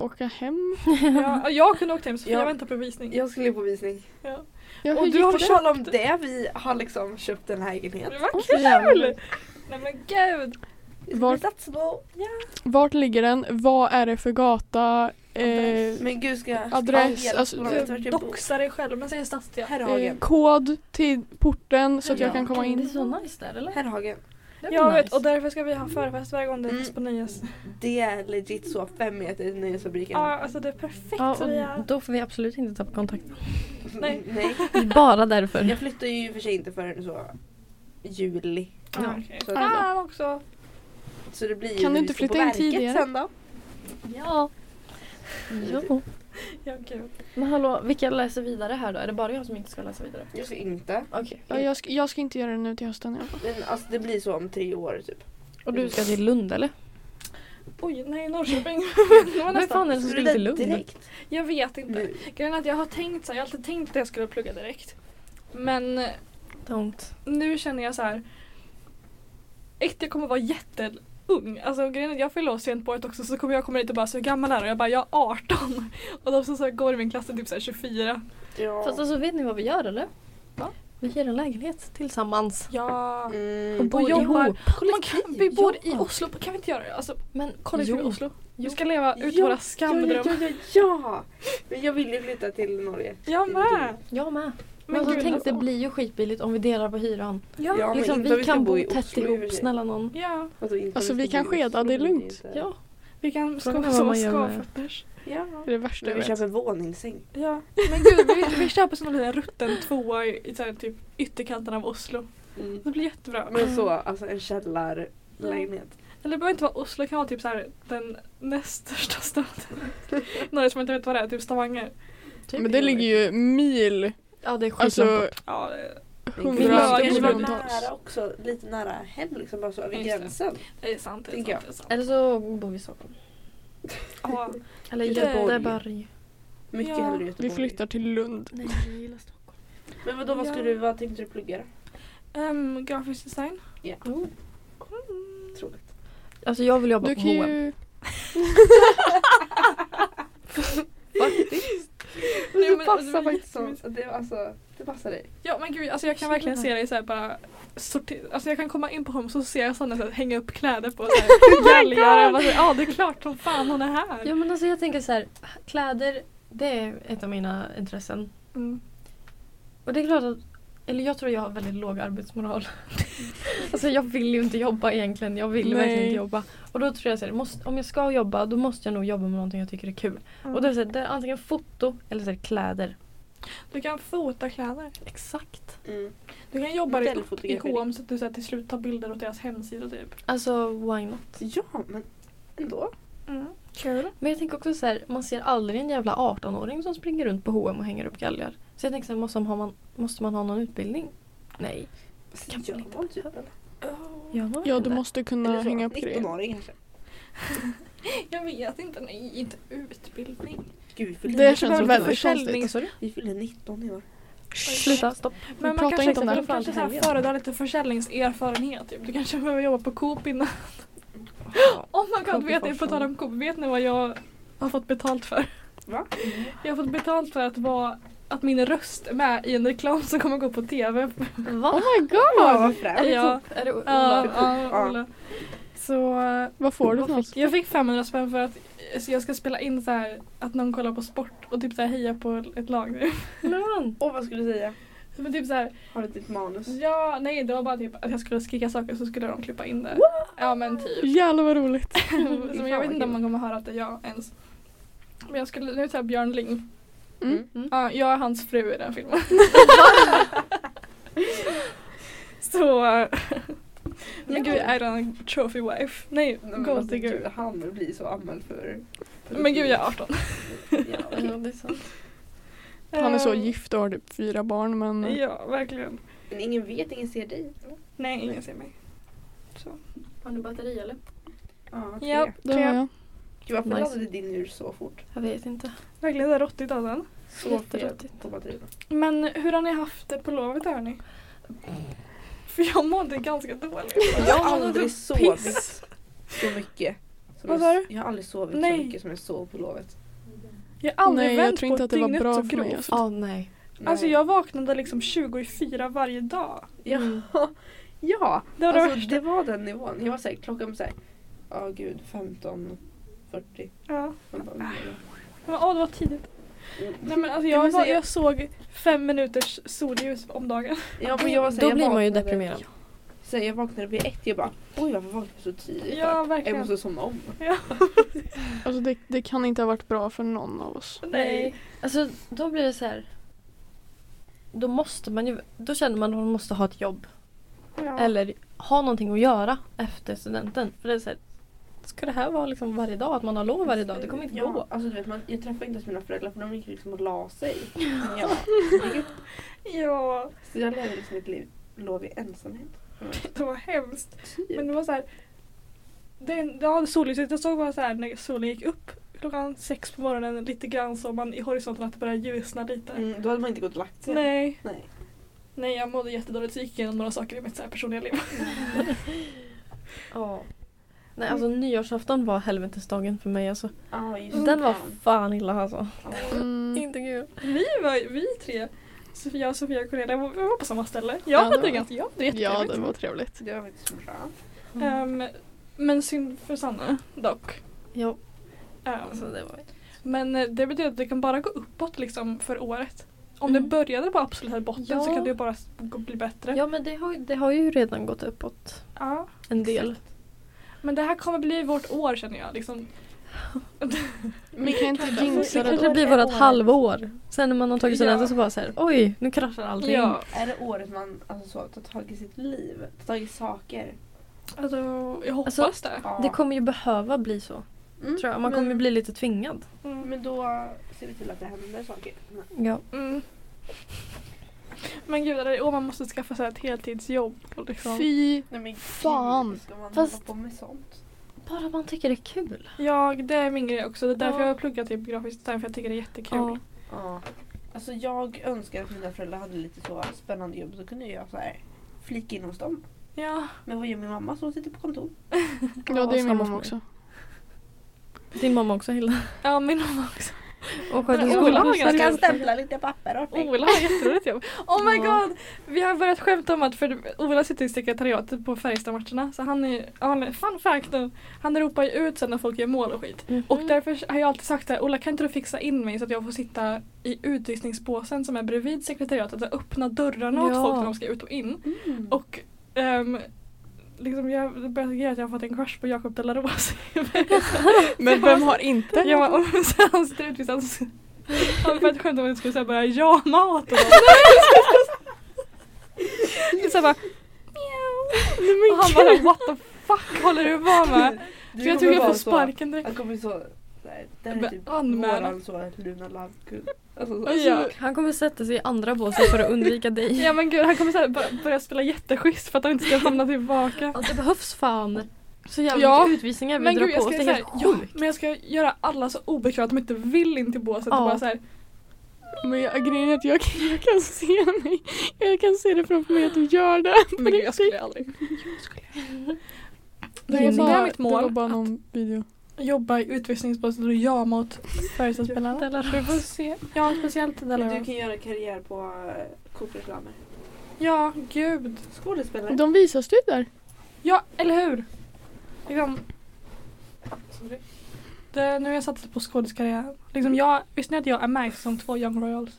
S2: Åka hem.
S1: Ja, jag kunde åkt hem så för
S3: Ja.
S1: jag väntar på visning.
S3: Jag skulle ju på visning.
S2: Ja,
S1: Och
S2: hur
S1: du
S2: gick
S1: har
S2: det?
S3: På tal om det, vi har liksom köpt en lägenhet.
S1: Det var
S2: Åh,
S1: kul! Nej men gud.
S3: Vi ska
S2: Var-
S3: bli stadsbo.
S2: Vart ligger den? Vad är det för gata? Eh,
S3: Men gud ska jag...
S2: adress,
S3: Ja,
S2: alltså-
S3: jag vet vart
S1: Du
S3: jag bor.
S1: doxar dig själv men säger stadsdel.
S2: eh,
S3: Herrhagen.
S2: kod till porten så att jag
S3: Ja.
S2: kan komma
S4: Det är
S2: in.
S4: så nice där eller?
S3: Herrhagen.
S1: Jag vet och därför ska vi ha förfest varje gång det är
S3: Mm.
S1: fest på Nyhets.
S3: Det är legit så fem meter till nyhetsfabriken.
S1: Ja alltså det är perfekt
S4: Ja,
S1: Sofia.
S4: och då får vi absolut inte tappa kontakten.
S1: nej.
S3: Nej.
S4: Bara därför.
S3: Jag flyttar ju i och för sig inte förrän så juli.
S1: Ja, okej.
S3: Så att-
S1: Fan också.
S3: Så det blir ju
S2: Kan du
S3: när
S2: inte
S3: vi ska på
S2: flytta in
S3: verket
S2: tidigare?
S3: Sen då.
S4: Ja. Jo.
S1: Ja, gud.
S4: Men hallå, vilka läser vidare här då? Är det bara jag som inte ska läsa vidare?
S3: Jag ska inte.
S4: Okej.
S2: Ja, jag, ska, jag ska inte göra det nu till hösten. Ja.
S3: Men, alltså, det blir så om tre år typ.
S4: Och du ska till Lund eller?
S1: Oj, nej Norrköping. Det var
S4: Vem
S1: nästan.
S4: fan är det som
S3: Skulle
S4: skulle
S3: det
S4: till Lund?
S3: direkt?
S1: Jag vet inte.
S3: Du,
S1: Grejen är att jag har tänkt så här, jag har alltid tänkt att jag skulle plugga direkt. Men eh,
S4: Don't.
S1: nu känner jag så här. Ett, jag kommer vara jätteung. Alltså grejen är att jag fyller år sent på året också så kommer jag komma dit och bara så hur gammal är du? Och jag bara jag är 18. Och de som så här, går i min klass är typ så här 24.
S3: ja.
S4: Fast alltså vet ni vad vi gör eller?
S1: Va?
S4: Vi hyr en lägenhet tillsammans.
S1: Ja.
S4: Och
S3: mm,
S4: bor
S1: jobbar.
S4: ihop.
S1: Man kan, vi bor i
S4: ja.
S1: Oslo, kan vi inte göra det? Alltså
S4: Men
S1: kollektiv i
S4: jo.
S1: Oslo. Vi
S4: Jo.
S1: ska leva ut
S3: Ja,
S1: våra
S3: ja, ja,
S1: skamdrömmar.
S3: ja, ja, ja! Men jag vill ju flytta till Norge.
S1: Jag med!
S4: Jag med. Men,
S1: Men
S4: alltså,
S1: gud,
S4: tänk
S1: alltså.
S4: det blir ju skitbilligt om vi delar på hyran.
S1: Ja.
S3: Ja, men
S4: liksom,
S3: inte
S4: vi
S3: om vi ska
S4: kan bo
S3: bo i
S4: tätt
S3: Oslo i och för
S4: ihop,
S3: sig.
S4: snälla någon.
S1: ja.
S3: Alltså, inte
S2: Alltså,
S3: om
S2: vi
S3: ska
S2: kan
S3: bo i
S2: skeda,
S3: Oslo,
S2: det är
S3: men
S2: lugnt.
S3: inte-
S4: Ja.
S1: Vi kan
S4: Frågan är
S1: skoja
S4: vad
S1: som
S4: man gör med-
S1: skavfötters.
S3: ja.
S2: Det är det värsta
S3: Men
S2: jag
S3: vi
S2: vet.
S3: köper våningssäng.
S1: Ja. Men gud, vi, vi köper sån liten rutten tvåa i, i så här, typ ytterkanten av Oslo.
S3: Mm.
S1: Det blir jättebra.
S3: Men så, alltså en källarlägenhet.
S1: Eller det behöver inte vara Oslo, det kan vara typ så här, den näst största staden. Några som inte vet vad det är, typ Stavanger.
S4: Typ.
S2: Men det ligger ju mil,
S4: Ja det är skit
S2: alltså
S1: Ja, det-
S3: Men
S1: Vi
S2: hundra
S1: har-
S3: kanske
S1: vi
S3: vara
S1: har-
S2: miljontals.
S3: nära också, lite nära hem liksom bara så över
S1: Just det.
S3: gränsen.
S1: det är sant. Det är
S3: Tänker
S1: sant, det är sant.
S4: Eller så bor vi i Stockholm.
S1: Ja.
S4: Eller
S3: Göteborg.
S4: Göteborg.
S3: Mycket
S1: Ja.
S3: hellre
S2: Vi
S3: Göteborg.
S2: flyttar till Lund.
S4: Nej jag gillar Stockholm.
S3: Men vadå, vad skulle
S1: Ja.
S3: du, vad tänkte du plugga då?
S1: Ehm, grafisk design.
S4: Oh.
S1: Mm.
S3: Tråkigt.
S4: Alltså jag vill jobba
S2: Du
S4: på
S2: kan
S4: H&M.
S2: ju...
S1: Nej, men alltså, det
S3: det passar
S1: var
S3: faktiskt så.
S1: jättemysigt.
S3: Det, alltså, det passar dig.
S1: Ja men gud, alltså jag kan verkligen se dig såhär bara sortera, alltså jag kan komma in på Home så ser jag sådana så här, hänga upp kläder på så
S2: Oh
S1: här, galgar och bara så här, ja det är klart som fan hon är här.
S4: Ja men alltså jag tänker så här, kläder det är ett av mina intressen.
S1: Mm.
S4: Och det är klart att, eller jag tror jag har väldigt låg arbetsmoral. alltså jag vill ju inte jobba egentligen, jag vill
S2: Nej.
S4: verkligen inte jobba. Och då tror jag så här, måste, om jag ska jobba då måste jag nog jobba med någonting jag tycker är kul. Och då är det, så här, det är antingen foto eller så här, kläder.
S1: Du kan fota kläder.
S4: Exakt.
S3: Mm.
S1: Du kan jobba i, i
S3: Modellfotografi.
S1: H&M så att du så här, till slut tar bilder åt deras hemsida typ.
S4: Alltså why not?
S3: Ja, men ändå.
S1: Mm. Kul.
S4: Men jag tänker också så här, man ser aldrig en jävla 18-åring som springer runt på H&M och hänger upp galgar. Så jag tänker så här, måste, man ha- man, måste man ha någon utbildning? Nej. Kan
S3: Gör
S4: man inte
S3: man typ en-
S1: Oh.
S4: Gör man
S2: Ja
S4: väl
S2: du
S4: det?
S2: måste kunna
S3: Eller så,
S2: hänga upp grejer.
S3: 19-åring kanske.
S1: Jag vet inte, nej inte utbildning.
S3: Gud, vi fyller,
S2: Det
S1: kanske
S2: känns
S1: behöver
S2: väldigt
S1: försäljning.
S2: konstigt.
S4: Vad sa du?
S3: vi fyller 19 i år.
S4: Sluta, stopp.
S1: Men man
S2: pratar
S1: kanske,
S2: inte om det.
S1: man kanske så här, föredrar lite försäljningserfarenhet. Typ. Du kanske behöver jobba på Coop innan. Oh my god,
S4: Coop i
S1: vet ni, på
S4: Forshaga.
S1: tal om Coop, vet ni vad jag har fått betalt för?
S3: Va?
S1: Jag har fått betalt för att vara att min röst är med i en reklam som kommer gå på TV.
S4: Va?
S2: Oh my
S3: Ja,
S2: god!
S3: vad fränt.
S1: Ja,
S4: Är det
S1: ja,
S4: Ola?
S1: ja, Ola. Så eh,
S2: Vad får du för något?
S1: jag fick 500 spänn för att eh, så jag ska spela in så här att någon kollar på sport och typ så här hejar på ett lag.
S4: Men,
S3: Och vad skulle du säga?
S1: Men typ så här,
S3: Har du ditt manus?
S1: Ja, nej det var bara typ att jag skulle skrika saker så skulle de klippa in det. Ja men typ.
S2: Jävlar vad roligt.
S1: så jag vet inte om man kommer höra att det är jag ens. Men jag skulle, nu tar jag Björn Ling.
S2: Mm.
S1: Ja, jag är hans fru i den filmen. så... eh, Men gud, jag är en trophy wife. Nej,
S3: Nej, men
S1: gold
S3: alltså, gud,
S1: digger.
S3: Han blir så anmäld för... för
S1: Men gud, jag är 18.
S3: Ja, okej.
S4: Ja, det är sant.
S2: Han är så
S1: Eh,
S2: gift och har typ fyra barn men...
S1: Ja, verkligen.
S3: Men ingen vet, ingen ser dig.
S1: Nej, ingen ser mig. Så.
S4: Har ni batteri eller?
S3: Ja, tre.
S1: Ja,
S2: Det har jag.
S3: Gud, varför
S4: Nice.
S3: laddade din ur så fort?
S4: Jag vet inte.
S1: verkligen så här råttigt av den.
S3: Så
S4: Jätterotigt.
S3: på batterierna.
S1: Men hur har ni haft det på lovet hörni? För jag mådde ganska dåligt.
S3: Jag har
S1: mådde
S3: aldrig sovit så mycket. som
S1: Vad
S3: jag-
S1: sa du?
S3: Jag har aldrig sovit
S1: Nej.
S3: så mycket som jag sov på lovet.
S1: Jag har aldrig
S2: Nej, jag
S1: vänt
S2: tror
S1: på
S2: inte
S1: ett
S2: att det var
S1: dygnet
S2: bra
S1: så
S2: för mig,
S1: grovt.
S2: alltså.
S4: Ja, nej.
S3: Nej.
S1: Alltså jag vaknade liksom 24 varje dag.
S3: Ja, ja.
S1: Det var det
S3: alltså,
S1: värsta.
S3: det var den nivån. Jag var såhär, klockan var såhär, ja gud 15.40.
S1: Ja.
S3: Man bara, mm.
S1: Men, åh, det var tidigt. Nej, men alltså,
S3: Ja,
S1: jag,
S3: men så
S1: var,
S3: jag-
S1: jag såg fem minuters solljus om dagen.
S3: Ja, men jag var så här,
S4: Då
S3: jag
S4: blir man ju
S3: vaknade-
S4: deprimerad.
S3: Så här, jag vaknade vid ett, jag bara oj varför vaknade jag så tidigt?
S1: Ja,
S3: jag
S1: verkligen.
S3: måste somna om.
S2: Alltså det, det kan inte ha varit bra för någon av oss.
S1: Nej.
S4: Alltså då blir det så här. Då måste man ju, då känner man att man måste ha ett jobb.
S1: Ja.
S4: Eller ha någonting att göra efter studenten. För det är så här, ska det här vara liksom varje dag? Att man har lov varje dag? Det kommer inte
S3: ja,
S4: gå.
S3: Alltså, du vet, man, jag träffade inte ens mina föräldrar för de gick liksom och la sig. Men jag,
S1: Ja,
S3: så jag levde liksom ett liv, lov i ensamhet.
S1: det var hemskt.
S3: Typ.
S1: Men det var så här, Det, är en- ja, solhuset. Jag såg bara så här när solen gick upp klockan sex på morgonen lite grann så man i horisonten att det började ljusna lite.
S3: Mm, då hade man inte gått och lagt sig.
S1: Nej.
S3: Nej.
S1: Nej, jag mådde jättedåligt så gick jag igenom några saker i mitt så här personliga liv.
S4: Ja. Nej alltså nyårsafton var helvetesdagen för mig alltså.
S3: Ja,
S1: Mm.
S3: just
S4: Den var
S3: det.
S4: fan illa alltså.
S2: Mm.
S4: Inte kul.
S1: Vi var vi tre, Sofia och Sofia och Cornelia, var- vi var på samma ställe. Jag
S2: Ja,
S1: hade
S2: det
S1: det
S2: var-
S1: ganska, jag hade det
S2: Ja,
S1: jättetrevligt.
S2: det var trevligt.
S3: Det var faktiskt bra.
S4: Mm.
S1: Ehm, men synd för Sanna dock.
S4: Ja,
S1: Ehm,
S4: alltså det var...
S1: Men eh, det betyder att det kan bara gå uppåt liksom för året. Om
S4: Mm.
S1: det började på absolut här botten
S4: Ja.
S1: så kan det ju bara s- gå- bli bättre.
S4: Ja men det har, det har ju redan gått uppåt
S1: Ja.
S4: en del.
S1: Men det här kommer bli vårt år känner jag. Liksom.
S2: Vi kan inte
S3: kanske-
S4: Det
S3: Så
S2: jinxa
S3: det
S4: kanske
S2: det.
S3: år
S4: blir
S3: är
S4: vårt
S3: år.
S4: halvår. Sen när man har tagit
S1: Ja.
S4: studenten så bara såhär oj nu kraschar allting.
S1: Ja.
S3: Är det året man alltså, så, tar tag i sitt liv? Tar tag i saker?
S1: Alltså, jag hoppas
S4: Alltså-
S1: det.
S3: Ja.
S4: Det kommer ju behöva bli så
S3: Mm,
S4: tror jag. Man kommer ju
S3: men-
S4: bli lite tvingad.
S1: Mm.
S3: Men då ser vi till att det händer saker.
S4: Ja.
S1: Mm. Men gud, det är år man måste skaffa sig ett heltidsjobb. och Liksom.
S2: Fy.
S3: Nej, men gud,
S2: Fan.
S3: Ska man
S2: Fast-
S3: hålla på med sånt?
S4: Bara man tycker det är kul.
S1: Jag, det är min grej också. Det är därför
S4: Ja.
S1: jag pluggar typ grafiskt design för jag tycker det är jättekul.
S4: Ja.
S3: Ja. Alltså jag önskar att mina föräldrar hade lite så spännande jobb. Då kunde jag så här flika in hos dem.
S1: Ja.
S3: Men vad gör min mamma? Så hon sitter på kontor.
S2: Ja, det är
S4: samma
S2: min
S4: för mig.
S2: mamma också.
S4: Din mamma också Hilda.
S1: ja, min mamma också.
S4: Och sköter
S1: Men Ola har
S4: skolan.
S1: ganska-
S3: kan stämpla lite papper åt mig.
S1: Ola har jätteroligt jobb. Oh my
S4: Ja.
S1: god! Vi har börjat skämta om att för Ola sitter i sekretariatet på Färjestad-matcherna så han är, han är fun fact nu. Han ropar ju ut sen när folk gör mål och skit.
S4: Mm.
S1: Och därför har jag alltid sagt det här, Ola kan inte du fixa in mig så att jag får sitta i utrustningsbåsen som är bredvid sekretariatet och öppna dörrarna åt
S4: Ja.
S1: folk när de ska ut och in.
S3: Mm.
S1: Och ehm, liksom jag börjar tycka att jag har fått en crush på Jakob de la Rose.
S2: Men vem har inte?
S1: jag bara, om så han sitter utvisad så han började skämta om att jag skulle säga bara ja mat och så jag bara mjau. Och han bara what the fuck håller du på med?
S3: Du
S1: För jag tror
S3: kommer
S1: jag
S3: vara
S1: får
S3: så-
S1: sparken direkt.
S3: Jag kommer så... Nej, det här
S1: Men
S3: är typ
S1: anmäla.
S3: våran så Luna Lovegood. Alltså, så.
S1: Alltså, Ja.
S4: Han kommer sätta sig i andra båset för att undvika dig.
S1: Ja men gud han kommer så här bör- börja spela jätteschysst för att han inte ska hamna tillbaka.
S4: Ja, Alltså, det behövs fan så jävla
S1: Ja.
S4: mycket utvisningar vi
S1: Men
S4: drar
S1: gud jag
S4: på oss.
S1: ska,
S4: Det
S1: så
S4: är
S1: här,
S4: helt
S1: ja,
S4: sjukt.
S1: men jag ska göra alla så obekväma att de inte vill in till båset och
S4: Ja.
S1: bara så här,
S2: Men jag, grejen är att jag, kan- jag kan se mig. Jag kan se det framför mig att du gör det.
S1: men gud jag skulle aldrig. Nej,
S2: jag
S1: jag sa- det är mitt
S2: Det
S1: mål
S2: var bara
S1: att-
S2: någon video.
S1: jobba i utvisningsbåset och jama åt Färjestadspelarna.
S4: De La Rose.
S1: Vi får se. Ja, speciellt Della
S3: Du
S1: Rose.
S3: kan göra karriär på eh, Coop-reklamer.
S1: Ja, gud.
S3: Skådespelare.
S2: De visas ju där.
S1: Ja, eller hur? Liksom. Sorry. Det, nu har jag satsat på skådiskarriären. Liksom jag, visste ni att jag är med som två Young Royals?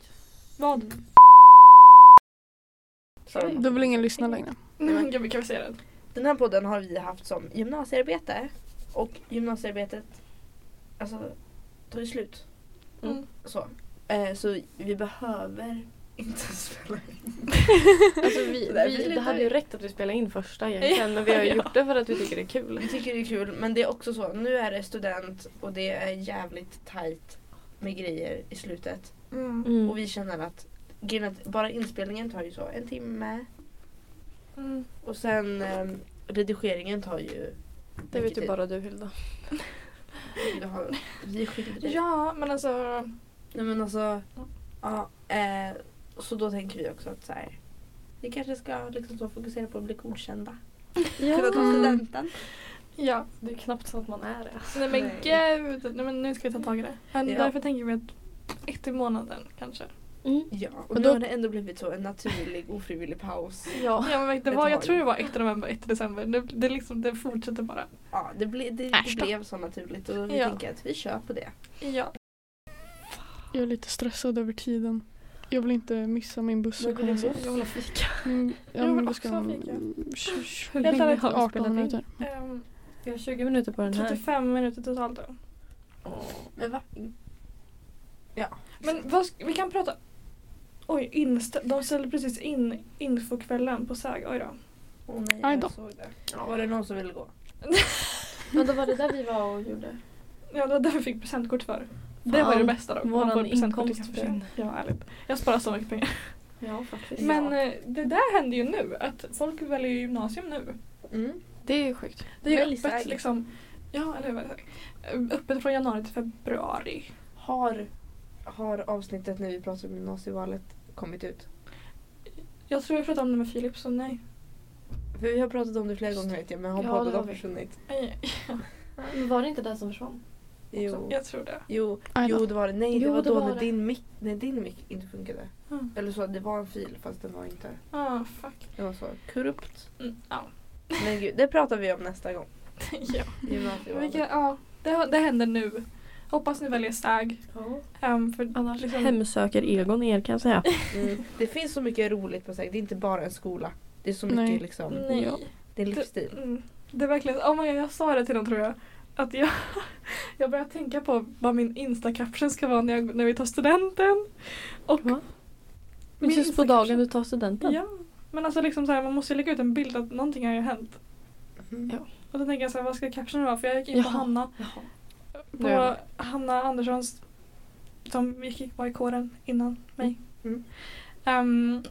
S1: Vad?
S3: Sorry.
S2: Då vill ingen lyssna längre.
S1: Nej men gud, vi kan väl säga det.
S3: Den här podden har vi haft som gymnasiearbete. Och gymnasiearbetet alltså, tar ju slut.
S1: Mm.
S3: Så. Eh, så vi behöver inte spela in.
S4: Alltså vi,
S3: Där blir
S4: vi,
S3: det
S4: det hade ju
S3: lite-
S4: räckt att vi spelade in första egentligen men vi har ju
S1: Ja.
S4: gjort det för att vi tycker det är kul.
S3: Vi tycker det är kul men det är också så, nu är det student och det är jävligt tajt med grejer i slutet.
S1: Mm.
S4: Mm.
S3: Och vi känner att, grejen är att bara inspelningen tar ju så en timme
S1: Mm.
S3: och sen eh, redigeringen tar ju
S4: det vet
S3: mycket
S4: ju
S3: tid.
S4: typ bara du Hilda.
S3: Vi har- Vi är skyldiga.
S1: Ja, men alltså.
S3: Nej men alltså. Ja, eh, så då tänker vi också att så här. Vi kanske ska liksom så fokusera på att bli godkända. Kunna ta studenten.
S1: Ja.
S4: Mm. Det är knappt så att man är det.
S1: Nej men
S3: Nej.
S1: gud. Nej, men nu ska vi ta tag i det. Men
S3: Ja.
S1: Därför tänker vi att ett i månaden kanske.
S4: Mm.
S3: Ja, och
S2: Och
S3: nu
S2: då-
S3: har det ändå blivit så en naturlig ofrivillig paus.
S4: Ja.
S1: Ja, men det
S3: Ett
S1: var, jag
S3: tag.
S1: tror det var 1 november, 1 december. Det, det, liksom, det fortsätter bara.
S3: Ja, det, ble, det,
S1: Äsch
S3: det
S1: då.
S3: blev så naturligt och vi
S1: Ja.
S3: tänker att vi kör på det.
S1: Ja.
S2: Jag är lite stressad över tiden. Jag vill inte missa min buss.
S3: Men
S2: och
S3: vill du
S2: komma så.
S3: buss?
S4: Jag vill ha fika.
S2: Mm,
S1: Jag
S2: ja,
S1: vill
S2: men då
S1: också
S2: ska
S1: ha
S2: de-
S1: fika.
S2: Tj-
S4: Hur
S2: tj-
S1: länge har vi spelat
S2: 18
S4: in?
S2: minuter.
S1: Ehm,
S4: Vi har 20 minuter på den här.
S1: 35 minuter totalt då.
S3: Men va?
S1: Men vad, sk- vi kan prata... Oj, inst- de ställde precis in infokvällen på SÄG. Oj då.
S3: Åh nej,
S2: Aj då.
S3: jag såg det. Var det någon som ville gå?
S4: Men då var det där vi var och gjorde.
S1: Ja, det var det vi fick presentkort för. Det var ju det bästa då.
S4: våran
S1: Man får presentkort i
S4: inkomst
S1: kanske.
S4: försvinner.
S1: Ja, ärligt. Jag sparar så mycket pengar.
S4: Ja faktiskt.
S1: Men eh, det där händer ju nu. Att folk väljer ju gymnasium nu.
S3: Mm.
S2: Det är ju sjukt.
S1: Det är ju
S3: Välj
S1: öppet
S3: säg.
S1: liksom. Ja, eller vad Öppet från januari till februari.
S3: Har, har avsnittet när vi pratade om gymnasievalet kommit ut?
S1: Jag tror jag pratade om det med Filip så nej.
S3: För vi har pratat om det flera gånger vet jag men har
S4: Ja,
S3: podden
S4: det har
S3: har
S4: vi.
S3: försvunnit?
S1: Nej,
S4: Men var det inte den som försvann?
S3: Jo.
S1: Jag tror det.
S3: Jo,
S2: Aj då.
S3: jo det var det. Nej det
S4: Jo,
S3: var
S4: det
S3: då
S4: var
S3: när,
S4: det.
S3: Din mic, när din mic inte funkade.
S1: Ja,
S3: Eller så det var en fil fast den var inte.
S1: ah, fuck.
S3: Det var så korrupt.
S1: Mm, ja.
S3: Men gud, det pratar vi om nästa gång.
S1: ja.
S3: Gymnasievalet.
S1: Vilka, ja. Det, det händer nu. Hoppas ni väljer SAG. Ehm, för
S4: Annars
S1: liksom-
S4: hemsöker Egon er kan jag säga.
S3: Mm. Det finns så mycket roligt på sig. Det är inte bara en skola. Det är så mycket
S2: Nej.
S3: liksom.
S1: Nej.
S2: Ja.
S3: Det är livsstil.
S1: Mm. Det är verkligen, oh my God, jag sa det till dem tror jag. Att jag, jag börjar tänka på vad min Insta-caption ska vara när, jag, när vi tar studenten. Och
S4: Va?
S1: min
S4: Precis på
S1: Insta-caption-
S4: dagen du tar studenten.
S1: Ja. Men alltså liksom så här, man måste ju lägga ut en bild att någonting har ju hänt.
S3: Mm.
S4: Ja.
S1: Och då tänker jag så här, vad ska captionen vara? För jag gick in på
S4: Jaha.
S1: Hanna.
S4: Jaha.
S1: På
S3: Nu är jag med.
S1: Hanna Anderssons som gick, var i kåren innan mig.
S3: Mm.
S1: Ehm,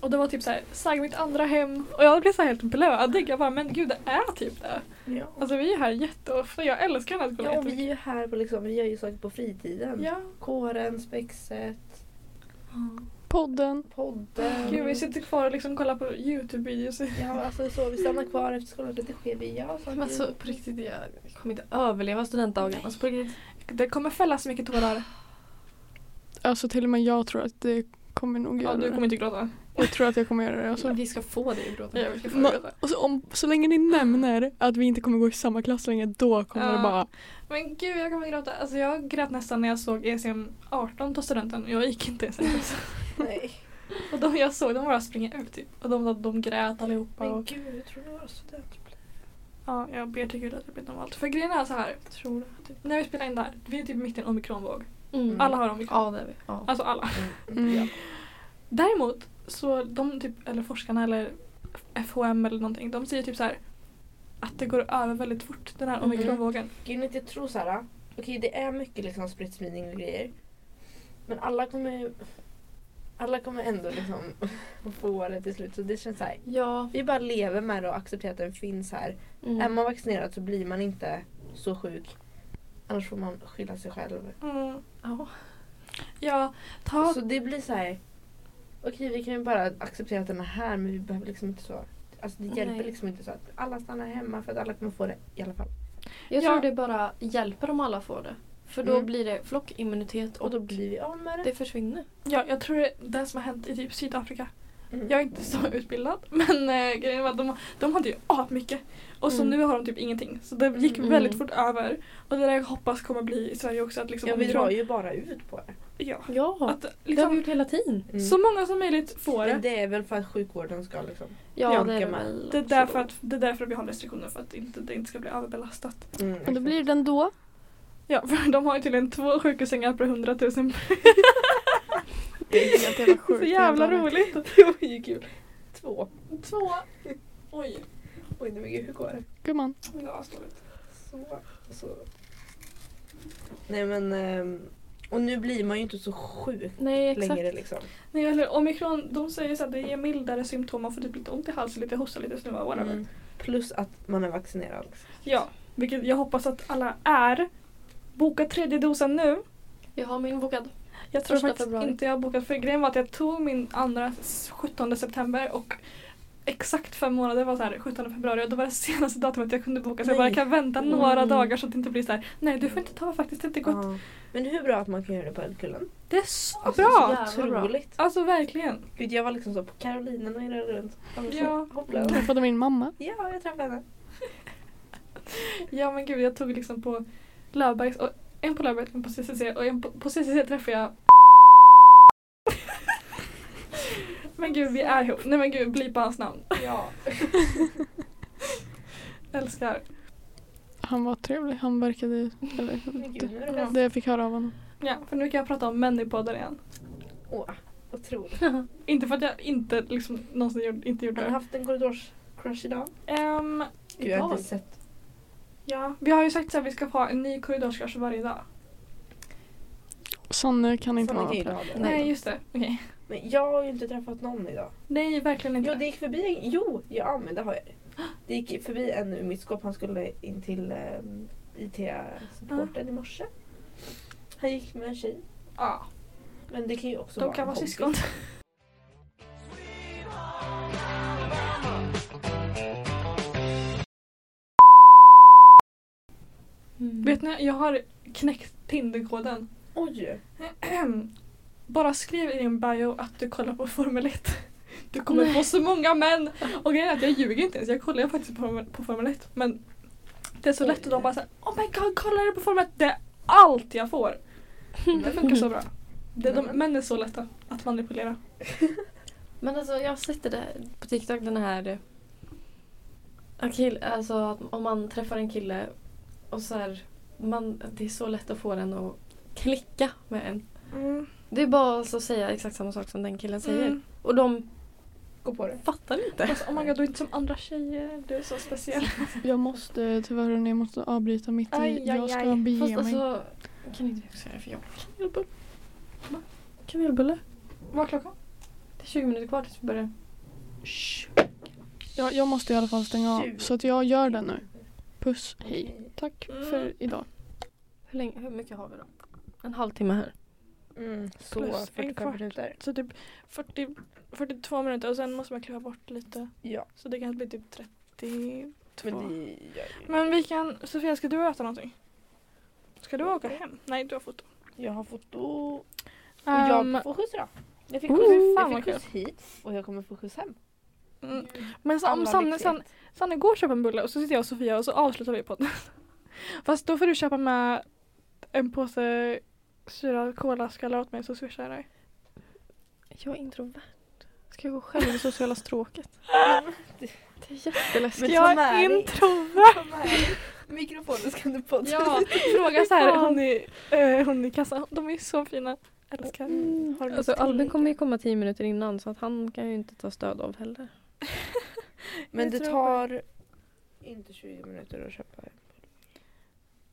S1: och det var typ så här, "Sagg mitt andra hem. Och jag blev så här helt blödig. Jag bara, men gud det är typ det.
S3: Ja.
S1: Alltså vi är här jätteofta. Jag älskar den här skolan
S3: Ja, och vi är
S1: jättemycket.
S3: ju här på liksom, vi gör ju saker på fritiden.
S1: Ja.
S3: Kåren, spexet,
S2: Podden.
S3: podden.
S1: Gud vi sitter kvar och liksom kollar på Youtube-videos.
S3: Ja, alltså så, vi stannar kvar efter skolan, det sker vi. Ja, saker.
S4: Men alltså på riktigt, jag kommer inte överleva studentdagen. Alltså, på riktigt.
S1: Det kommer fällas så mycket tårar.
S2: Alltså till och med jag tror att det kommer nog
S1: Ja,
S2: göra
S1: du
S2: det.
S1: kommer inte gråta.
S2: Jag tror att jag kommer göra det. Alltså.
S4: Vi ska få dig att gråta.
S1: Ja, vi ska få
S2: Nå-
S1: gråta.
S2: och så, om, så länge ni nämner att vi inte kommer gå i samma klass längre, då kommer det
S1: Ja.
S2: bara...
S1: Men gud jag kommer gråta. Alltså jag grät nästan när jag såg E ECM 18 ta studenten. Jag gick inte ECM 18.
S3: Nej.
S1: Och de jag såg, de bara springa ut typ. Och de, de grät allihopa.
S3: Men
S1: Och,
S3: gud, jag tror det var student.
S1: ja, jag ber till gud att jag vet om allt. För grejen är så här. Tror du? Typ, när vi spelar in där, vi är typ mitt i en omikronvåg.
S4: Mm.
S1: Alla har omikron.
S4: Ja, det är vi. Ja.
S1: Alltså alla.
S2: Mm.
S3: Ja.
S1: Däremot så de typ, eller forskarna eller FHM eller någonting, de säger typ så här att det går över väldigt fort den här
S4: Mhm.
S1: omikronvågen.
S3: Grejen är att jag tror såhär, okej det är mycket liksom spritt spridning och grejer. Men alla kommer alla kommer ändå liksom få det till slut. Så det känns såhär,
S4: ja.
S3: vi bara lever med det och accepterar att den finns här.
S4: Mm.
S3: Är man vaccinerad så blir man inte så sjuk. Annars får man skylla sig själv.
S1: Mm.
S4: Ja.
S1: Ja, ta...
S3: Så det blir så här. okej vi kan ju bara acceptera att den är här men vi behöver liksom inte så. Alltså det hjälper
S4: Nej.
S3: liksom inte så att alla stannar hemma för att alla kommer få det i alla fall.
S4: Jag
S1: Ja.
S4: tror det bara hjälper om alla får det. För då
S3: Mm.
S4: blir det flockimmunitet
S3: Och
S4: och
S3: då blir vi av med det.
S4: det försvinner.
S1: ja, jag tror det, är det som har hänt i typ Sydafrika.
S3: Mm.
S1: Jag är inte så utbildad men eh, grejen var att de, de hade ju mycket och så
S4: Mm.
S1: nu har de typ ingenting. Så det gick
S3: Mm.
S1: väldigt fort över. Och det där jag hoppas kommer bli i Sverige också. Att liksom
S3: Ja, vi
S1: omikron-
S3: drar ju bara ut på det.
S1: ja.
S4: Ja,
S1: Att,
S4: det har vi
S1: liksom,
S4: gjort hela tiden.
S1: så många som möjligt får
S3: Men
S1: det.
S3: Mm. det är väl för att sjukvården ska liksom...
S4: Ja,
S3: Jag
S4: det
S3: orkar
S4: är
S3: med.
S4: väl
S1: Det är,
S4: också
S1: därför
S4: då.
S1: att, det är därför vi har restriktioner för att inte, det inte ska bli överbelastat.
S3: Mm,
S2: Och
S3: liksom.
S2: då blir det ändå.
S1: Ja, för de har ju tydligen två sjukhussängar per 100 000.
S2: Det är helt jävla sjukt.
S1: så jävla
S2: egentligen.
S1: roligt.
S3: det var ju kul. Två.
S1: Två. Oj,
S3: Oj, nej men gud, hur går det?
S2: Gumman.
S1: ja, ståligt.
S3: Så, så. Nej men... ehm, Och nu blir man ju inte så sjuk
S4: Nej, exakt.
S3: längre liksom.
S1: Nej, eller omikron, de säger så att det ger mildare symptom. Man får typ lite ont i halsen, lite hosta, lite snuva, whatever.
S3: Mm. Plus att man är vaccinerad. Liksom.
S1: Ja, vilket jag hoppas att alla är. Boka tredje dosen nu.
S4: Jag har min bokad.
S1: Jag tror
S4: Första
S1: faktiskt
S4: februari.
S1: inte jag har bokat för grejen var att jag tog min andra s- 17 september och exakt fem månader var så här 17 februari och då var det senaste datumet jag kunde boka så jag
S3: Nej.
S1: bara kan vänta några
S4: Mm.
S1: dagar så att det inte blir så här. nej du får inte ta faktiskt det är inte gott.
S3: Ja. Men hur bra att man kan göra det på Älvkullen.
S1: Det är så
S4: Alltså, så
S1: bra!
S4: jävla- Ja, vad bra.
S3: Otroligt.
S1: Alltså verkligen.
S3: Gud, jag var liksom så på Karolinen och irrade runt. Jag var så
S1: Ja.
S3: hopplös.
S2: Jag träffade min mamma.
S3: Ja, jag träffade henne.
S1: Ja men gud jag tog liksom på Löfbergs och en på Löfbergs, en på CCC och en på, på CCC träffade jag Men gud vi är ihop. Nej men gud blipa hans namn.
S3: Ja.
S1: Älskar.
S2: Han var trevlig. Han verkade... Eller,
S3: Men gud, nu är det
S1: Ja.
S3: bäst.
S2: det jag fick höra av honom.
S1: Ja för nu kan jag prata om män i podden igen.
S3: Åh, otroligt.
S1: Inte för att jag inte liksom någonsin gjorde, inte gjorde
S3: Har du
S1: det.
S3: haft en korridors-crush idag?
S1: Ehm,
S3: Gud, jag har
S4: Idag?
S3: inte sett.
S1: ja. Vi har ju sagt att vi ska ha en ny korridorskurs varje dag.
S2: Sanne kan inte
S3: Sanna
S2: vara
S3: kan ju
S2: med.
S3: ha det.
S1: Nej, just det. Okej.
S3: Men jag har ju inte träffat någon idag.
S1: Nej verkligen inte.
S3: Jo, det gick förbi en... Jo, ja men det har jag. Det gick förbi en ur mitt skåp. Han skulle in till ehm, IT-supporten i morse. Han gick med en tjej.
S1: Ja,
S3: Men det kan ju också
S1: de
S3: vara
S1: kan
S3: en
S1: vara
S3: kompis.
S1: syskon.
S4: Mm.
S1: Vet ni, jag har knäckt Tinderkoden.
S3: Oj!
S1: Bara skriv i din bio att du kollar på Formel 1. Du kommer få så många män! Och grejen är att jag ljuger inte ens, jag kollar ju faktiskt på Formel, på Formel 1. Men det är så lätt att de bara säger Oh my god, kolla du på Formel 1? Det är allt jag får! Det funkar så bra. Det, de, män är så lätta att manipulera.
S4: Men alltså jag har sett det där på TikTok den här eh, en kille, alltså att om man träffar en kille och så här, man, det är så lätt att få den att klicka med en. Det är bara alltså att säga exakt samma sak som den killen säger.
S1: Mm.
S4: Och de
S1: Gå på det.
S4: fattar inte.
S1: Alltså, oh my god, du är inte som andra tjejer. Du är så speciell.
S2: Jag måste tyvärr hörni, jag måste avbryta mitt i.
S1: Aj, aj,
S2: jag ska
S1: aj.
S2: bege
S4: Fast
S2: mig.
S4: alltså, kan inte vi också göra det för jag kanelbulle. Va? Kanelbulle?
S1: Vad är klockan?
S4: Det är 20 minuter kvar tills vi börjar.
S2: jag, jag måste i alla fall stänga av. Så att jag gör det nu. Puss, hej.
S3: Okej.
S2: Tack
S1: Mm.
S2: för idag.
S4: Hur, länge, hur mycket har vi då? En halvtimme här.
S3: Mm, så
S1: Plus en
S3: 45
S1: kvart.
S3: minuter.
S1: Så typ 40, 42 minuter och sen måste man kliva bort lite.
S3: Ja,
S1: Så det kanske blir typ 30.
S3: men det gör ju.
S1: Men vi kan, Sofia ska du äta någonting? Ska du åka hem? Nej du har foto.
S3: Jag har foto och
S1: Ehm,
S3: jag får skjuts idag. Jag fick
S1: oh,
S3: skjuts,
S1: fy fan
S3: jag
S1: vad
S3: fick skjuts hit och jag kommer få skjuts hem.
S1: mm. Men så, om
S3: Alla
S1: Sanne,
S3: lyxigt.
S1: Sanne, Sanne går och köper en bulle och så sitter jag och Sofia och så avslutar vi podden. Fast då får du köpa med en påse syrad kolaskallar åt mig så swishar jag dig.
S4: Jag är introvert. Ska jag gå själv i sociala stråket? Det är jätteläskigt.
S3: Men ta
S1: jag
S3: med
S1: är
S3: dig.
S1: introvert!
S3: Kom här. Mikrofonen ska du podda.
S1: Ja, fråga så här hon i, eh, hon i kassan. De är så fina. Älskar. Mm, Har du
S4: Alltså
S1: lust till?
S4: Albin kommer ju komma tio minuter innan så att han kan ju inte ta stöd av heller.
S3: Men
S1: Jag
S3: det
S1: tror
S3: tar inte 20 minuter att köpa.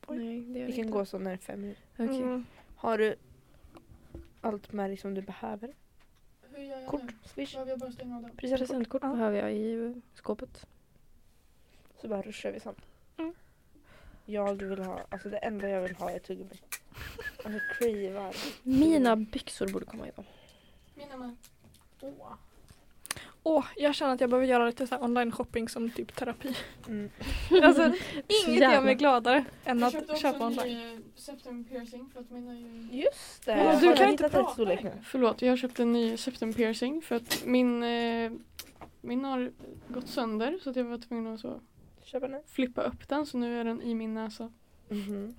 S1: Oj.
S4: Nej, det gör
S3: Vi kan gå så när fem minuter.
S4: Okej.
S1: Mm.
S3: Har du allt med dig som du behöver?
S2: Hur gör jag
S3: Kort, swish,
S2: jag bara stänga av den?
S3: presentkort.
S4: Presentkort
S1: Ja.
S4: behöver jag i skåpet.
S3: Så bara ruschar vi sen.
S1: Mm.
S3: Jag vill ha, alltså det enda jag vill ha är tuggummi. Alltså cravar.
S4: Mina byxor borde komma idag.
S2: Mina med.
S3: Åh.
S1: Åh, jag känner att jag behöver göra lite så här online shopping som typ terapi.
S3: Mm.
S1: Alltså, inget
S4: jävla-
S1: gör mig gladare än att köpa online.
S2: eh, septum piercing för att mina är
S3: Just det.
S1: Men
S3: Har
S1: du
S3: du
S1: kan inte
S3: hittat
S1: prata
S3: rätt storlek nu?
S2: Förlåt, jag köpte en ny septum piercing för att min, eh, min har gått sönder så att jag var tvungen att så
S3: Köpa nu.
S2: flippa upp den så nu är den i min näsa.
S3: Mhm.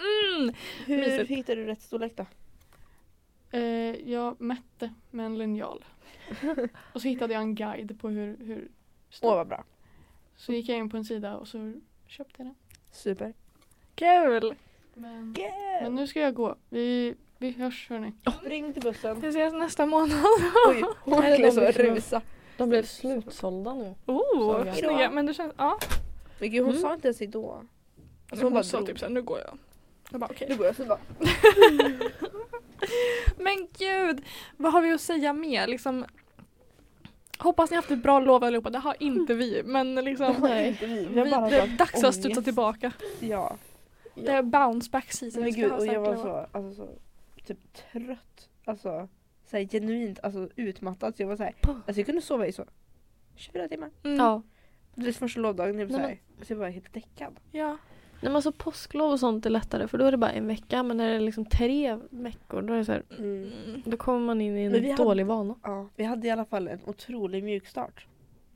S1: Mm.
S3: Hur
S1: Mysigt.
S3: hittar du rätt storlek då?
S2: Eh, jag mätte med en linjal. och så hittade jag en guide på hur, hur
S3: Åh
S2: stor.
S3: vad bra.
S2: Så gick jag in på en sida och så köpte jag den.
S3: Super.
S1: Kul!
S2: Men, men
S3: Gud.
S2: nu ska jag gå. Vi, vi hörs hörni.
S3: Ring till bussen.
S1: Vi ses nästa månad.
S3: Oj, hon är så rusa.
S4: De blev slutsålda nu. Så
S1: Oh,
S4: jag-
S1: snygga. Men du känns... Ja.
S3: Alltså, Men gud hon
S4: Mm.
S3: sa inte ens då.
S1: Alltså, hon sa typ såhär, nu går jag. Jag bara okej.
S3: Nu går jag så bara.
S1: Men gud, vad har vi att säga mer? Liksom, hoppas ni haft ett bra lov allihopa. Det har inte vi. Men liksom,
S4: Nej.
S3: Vi, vi
S1: vi,
S3: har bara
S1: det är
S3: sagt
S1: dags att
S3: ångest.
S1: studsa tillbaka.
S3: Ja.
S1: Det är bounce back season.
S3: Men
S1: Vi ska
S3: gud
S1: ha
S3: och jag
S1: starka
S3: var
S1: lov.
S3: så, alltså, så typ trött. Alltså så här, genuint alltså, utmattad. Så jag var så här, alltså, jag kunde sova i så 24 timmar.
S1: Mm.
S4: Ja.
S3: Det är första lovdagen. Jag var, så,
S4: Nej,
S3: här, så jag var helt däckad.
S1: ja.
S4: Nej, men alltså påsklov och sånt är lättare för då är det bara en vecka men när det är liksom tre veckor då är det så här,
S1: Mm.
S4: då kommer man in i
S3: Men
S4: en
S3: vi hade-
S4: dålig vana.
S3: Ja, vi hade i alla fall en otrolig mjukstart.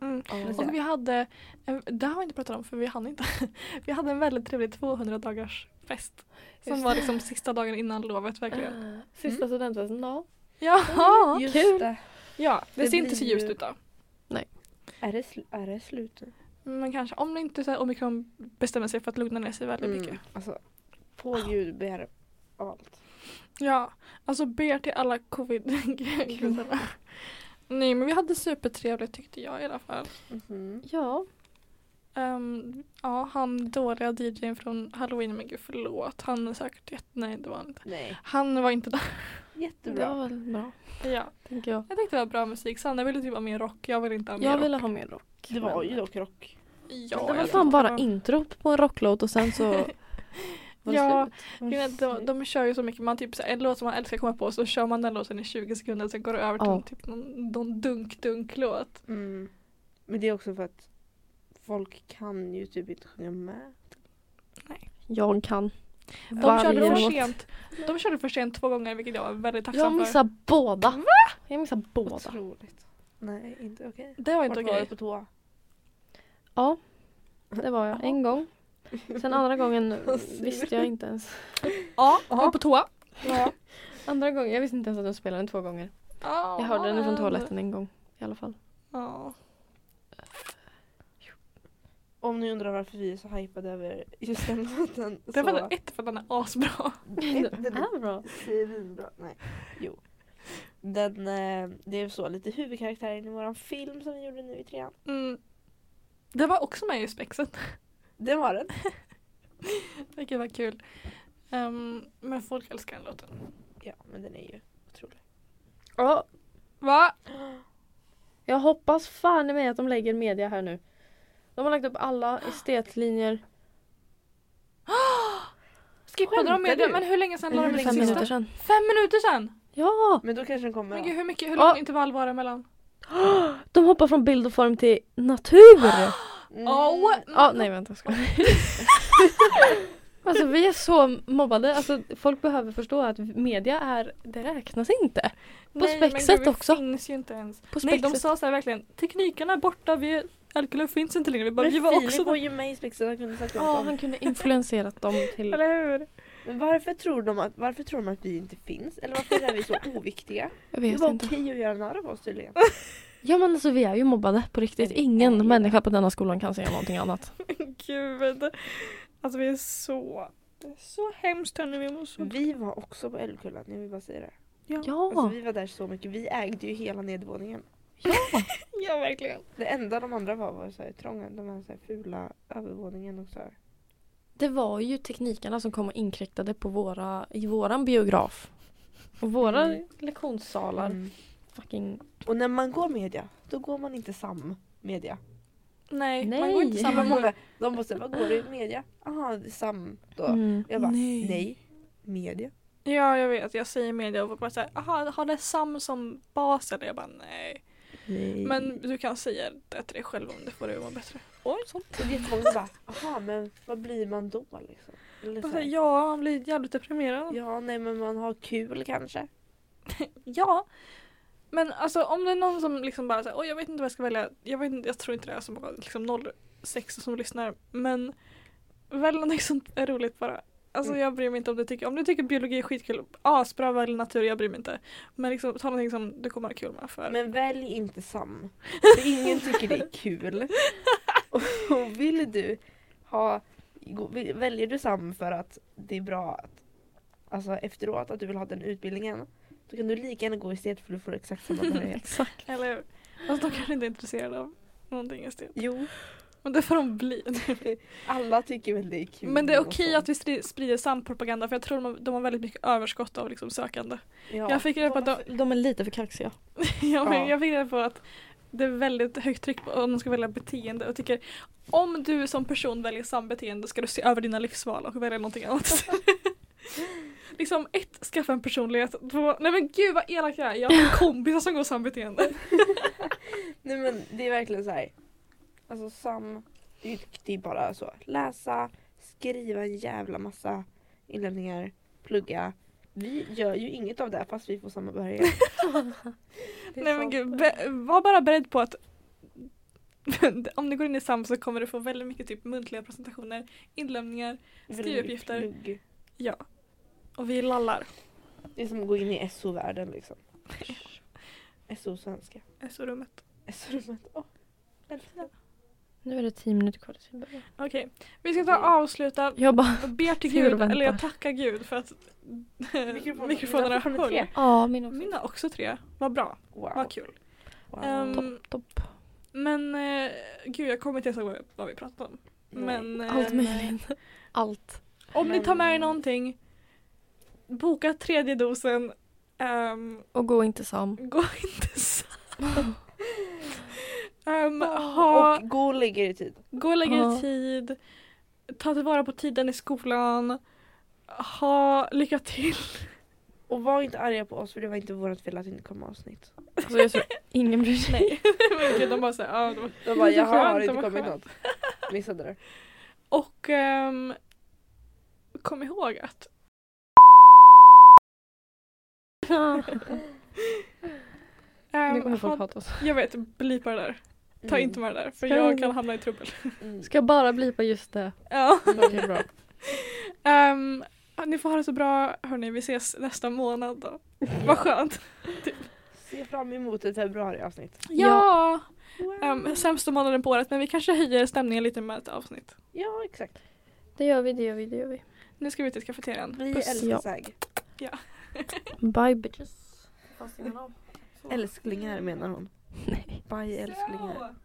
S1: Mm.
S3: Alltså,
S1: Och vi hade, en- det har vi inte pratat om för vi hann inte. Vi hade en väldigt trevlig 200 dagars fest. Som
S4: Just
S1: var liksom sista dagen innan lovet verkligen.
S4: Ah, Sista studentfesten, ja.
S1: Ja,
S3: Just det.
S1: ja det,
S3: Det
S1: ser inte så
S3: blir
S1: ljust
S3: ju-
S1: ut då.
S3: Är det, sl- är det slut nu?
S1: Men kanske om det inte så här, omikron bestämmer sig för att lugna ner sig väldigt mycket.
S3: Alltså, på gud begär allt.
S1: Ja, alltså ber till alla covid-gudarna. Nej men vi hade supertrevligt tyckte jag i alla fall.
S3: Mhm.
S1: Mm-hmm.
S4: Ja.
S1: Ehm, ja, han dåliga DJn från halloween, men gud förlåt. Han är säkert jättenöjd, det var han inte.
S3: Nej.
S1: Han var inte där.
S3: Jättebra.
S4: Det var väl bra,
S2: Ja.
S4: tänker jag.
S1: Jag tyckte det var bra musik. Sanna ville typ ha mer rock. Jag ville inte ha mer
S4: Jag
S1: rock.
S4: ville ha mer rock.
S3: det var
S4: men-
S3: ju dock rock.
S1: Ja,
S4: det var
S1: jag
S4: fan
S1: vet.
S4: bara intro på en rocklåt och sen så var det
S1: Ja,
S4: slut.
S1: grejen är att de, de kör ju så mycket. Man typ så här, en låt som man älskar komma på så kör man den låten i 20 sekunder sen går det över till
S4: Ja.
S1: typ någon, någon dunk-dunk-låt.
S3: Mm. Men det är också för att folk kan ju typ inte sjunga med.
S4: Jag kan.
S1: De
S4: Varje
S1: körde för
S4: låt.
S1: sent. De körde för sent två gånger vilket jag var väldigt
S4: Jag
S1: tacksam för.
S4: missar båda. Jag missar båda.
S3: Otroligt. Nej, inte okej.
S1: Det var inte
S3: Vart var
S1: okej.
S3: du på toa?
S4: Ja, det var jag. En gång. Sen andra gången visste jag inte ens.
S1: Ja, jag var på toa.
S3: Ja.
S4: Andra gången, jag visste inte ens att de spelade den två gånger.
S1: Ja.
S4: Jag hörde den från toaletten en gång i alla fall.
S1: Ah. Ja.
S3: Om ni undrar varför vi är så hypade över just den låten.
S1: Det var
S3: så-
S1: den ett för den är asbra.
S3: Den är
S4: är bra.
S3: svinbra. Nej, jo. Den, eh, det är så lite huvudkaraktären i våran film som vi gjorde nu i trean.
S1: Mm. Det var också med i spexet.
S3: Den var den.
S1: Vilket var kul. Ehm, men folk älskar den låten.
S3: Ja, men den är ju otrolig.
S4: Ja,
S1: Va?
S4: jag hoppas fan med att de lägger media här nu. De har lagt upp alla estetlinjer.
S1: Skippade de med
S3: Skämtar
S1: det?
S3: du?
S1: Men hur länge sedan la de
S3: Hur
S1: upp
S3: länge
S4: Fem
S1: sista?
S4: minuter sedan.
S1: Fem minuter sedan?
S4: Ja!
S3: Men då kanske den kommer.
S1: Men gud, hur, mycket, hur lång
S4: Ja.
S1: intervall var det mellan?
S4: De hoppar från bild och form till natur!
S3: Mm.
S1: Åh!
S4: Ja, nej vänta jag skojar. Alltså vi är så mobbade. Alltså, folk behöver förstå att media är, det räknas inte. På
S1: Nej,
S4: Spexet
S1: men gud,
S4: också.
S1: Vi finns ju inte ens.
S4: På
S1: Nej,
S4: spexet.
S1: de sa så här verkligen. Teknikerna är borta. Vi är, Alkelöv finns inte längre. Vi, bara,
S3: Men
S1: vi var
S3: Filip
S1: också
S3: var
S1: där.
S3: ju med i Spexet, han kunde sagt
S4: Ja,
S3: åt dem.
S4: han kunde influenserat dem till...
S1: Eller hur?
S3: Men varför tror, de att, varför tror de att vi inte finns? Eller varför är vi så oviktiga?
S4: Jag
S3: Det
S4: vet
S3: var
S4: inte.
S3: okej att göra narr av oss tydligen.
S4: Ja men alltså vi är ju mobbade på riktigt.
S3: Ja, det är
S4: Ingen
S3: vi.
S4: människa på denna skolan kan säga någonting annat.
S1: Gud. Alltså vi är så... Det är så hemskt hörni. Vi mår så...
S3: Vi var också på Älvkullen, jag vill bara säga det.
S4: Ja!
S3: Alltså, vi var där så mycket, vi ägde ju hela nedervåningen.
S1: Ja, verkligen.
S3: Det enda de andra var var så här trånga, de här, så här fula övervåningen och så här.
S4: Det var ju teknikerna som kom och inkräktade på våra, i våran biograf. Och våra
S3: Mm.
S4: lektionssalar.
S3: Mm.
S4: Fucking...
S3: Och när man går media, då går man inte sam media.
S1: Nej, man
S4: Nej.
S1: går inte samma
S3: Samma
S1: mål.
S3: många, de måste vad går du i media? Aha, det är sam då.
S4: Mm.
S3: Jag bara, nej.
S4: Nej.
S3: media.
S1: Ja, jag vet. Jag säger media och folk bara såhär, aha, har det Sam som bas eller? Jag bara nej.
S3: Nej.
S1: Men du kan säga det till dig själv om det får dig att må bättre. Oj, sånt.
S3: Och jättemånga som bara, aha men vad blir man då liksom? Eller så
S4: Alltså,
S1: Bara,
S3: här,
S1: Alltså, ja, man blir jävligt deprimerad.
S3: ja, nej men man har kul kanske.
S1: Ja. Men alltså om det är någon som liksom bara säger, oj jag vet inte vad jag ska välja. Jag, vet inte, jag tror inte det är så många liksom 06 som lyssnar. Men välj någonting som är roligt bara. Alltså
S3: Mm.
S1: jag bryr mig inte om du tycker, om du tycker biologi är skitkul, asbra välj natur, jag bryr mig inte. Men liksom ta någonting som du kommer ha kul med för.
S3: Men välj inte sam. För ingen tycker det är kul. Och, och vill du ha, gå- vill- väljer du sam för att det är bra att, alltså efteråt att du vill ha den utbildningen. Då kan du lika gärna gå estet för du får exakt samma behörighet.
S4: Exakt.
S1: Eller hur? Alltså de kanske inte är intresserade av någonting estet.
S3: Jo,
S1: Men det får de bli.
S3: alla tycker väl det är kul.
S1: Men det är
S3: och
S1: okej
S3: så.
S1: att vi stri- sprider sampropaganda för jag tror de har, de har väldigt mycket överskott av liksom sökande.
S3: Ja.
S1: Jag fick reda på att de,
S4: De är lite för kaxiga.
S1: Ja, men
S3: Ja.
S1: jag fick reda på att det är väldigt högt tryck på om man ska välja beteende och tycker om du som person väljer samma beteende ska du se över dina livsval och välja någonting annat. liksom ett, skaffa en personlighet. Två, nej men gud vad elak jag är. Jag har kompisar som går samma beteende.
S3: Nej men det är verkligen så här. Alltså Sam, det är- det är bara så. Läsa, skriva en jävla massa inlämningar, plugga. Vi gör ju inget av det fast vi får samma behörighet. Det är
S1: Nej men
S3: sant.
S1: gud, be- var bara beredd på att om du går in i SAM så kommer du få väldigt mycket typ muntliga presentationer, inlämningar
S3: Väldigt
S1: skrivuppgifter.
S3: plugg.
S1: och vi lallar.
S3: Det är som att gå in i SO-världen liksom. SO-svenska.
S1: SO-rummet.
S3: SO-rummet. Åh, älskar det.
S4: Nu är det tio minuter kvar tills vi börjar.
S1: Okej, vi ska ta och avsluta
S4: Jag bara...
S1: Jag ber till
S4: Tur
S1: gud,
S4: och väntar.
S1: eller jag tackar gud för att
S3: Mikrofonen-
S1: Eh, mikrofonerna
S3: mikrofonen är
S1: höll.
S3: tre.
S4: Ja, min också.
S1: Min har också tre. Vad bra,
S3: Wow.
S1: vad kul.
S3: wow.
S1: Ehm,
S4: Topp, topp.
S1: men eh, gud jag kommer inte ens ihåg vad vi pratade om.
S3: Nej.
S1: Men eh,
S4: Allt Mm. möjligt. Allt.
S1: om ni tar med er någonting, boka tredje dosen, Ehm,
S4: Och gå inte sam.
S1: gå inte så. Ehm, ha,
S3: Och gå och lägg er i tid.
S1: gå och lägga
S4: Ja.
S1: i tid. Ta tillvara på tiden i skolan. Ha lycka till.
S3: Och var inte arga på oss för det var inte vårt fel att det inte kom avsnitt.
S4: Alltså jag tror ingen bryr sig.
S1: Men gud, de bara så här, ja, de-
S3: De bara,
S1: Det är
S3: jag har
S1: skönt,
S3: inte
S1: det var
S3: kommit
S1: skönt."
S3: något. Missade det.
S1: Och ehm, kom ihåg att
S4: nu
S1: ehm,
S4: kommer folk
S1: ha,
S4: hata oss.
S1: jag vet, blipa det där. Ta inte med det där för
S4: Ska jag
S1: jag
S4: inte?
S1: kan hamna i trubbel.
S3: Mm.
S4: Ska jag bara blipa just det?
S1: Ja.
S4: Okej, bra.
S1: Ehm, ni får ha det så bra hörni, vi ses nästa månad då. Vad skönt.
S3: Se fram emot ett februariavsnitt.
S1: Ja!
S3: Wow.
S1: Um, sämsta månaden på året men vi kanske höjer stämningen lite med ett avsnitt.
S3: Ja exakt.
S4: Det gör vi, det gör vi, det gör vi.
S1: Nu ska vi ut i kafeterian.
S3: Vi
S1: Puss.
S3: älskar
S4: Ja.
S3: SAG.
S4: Bye bitches. Fast innan
S3: Älsklingar menar hon.
S4: Nej.
S3: Bye älsklingar.
S1: Ja.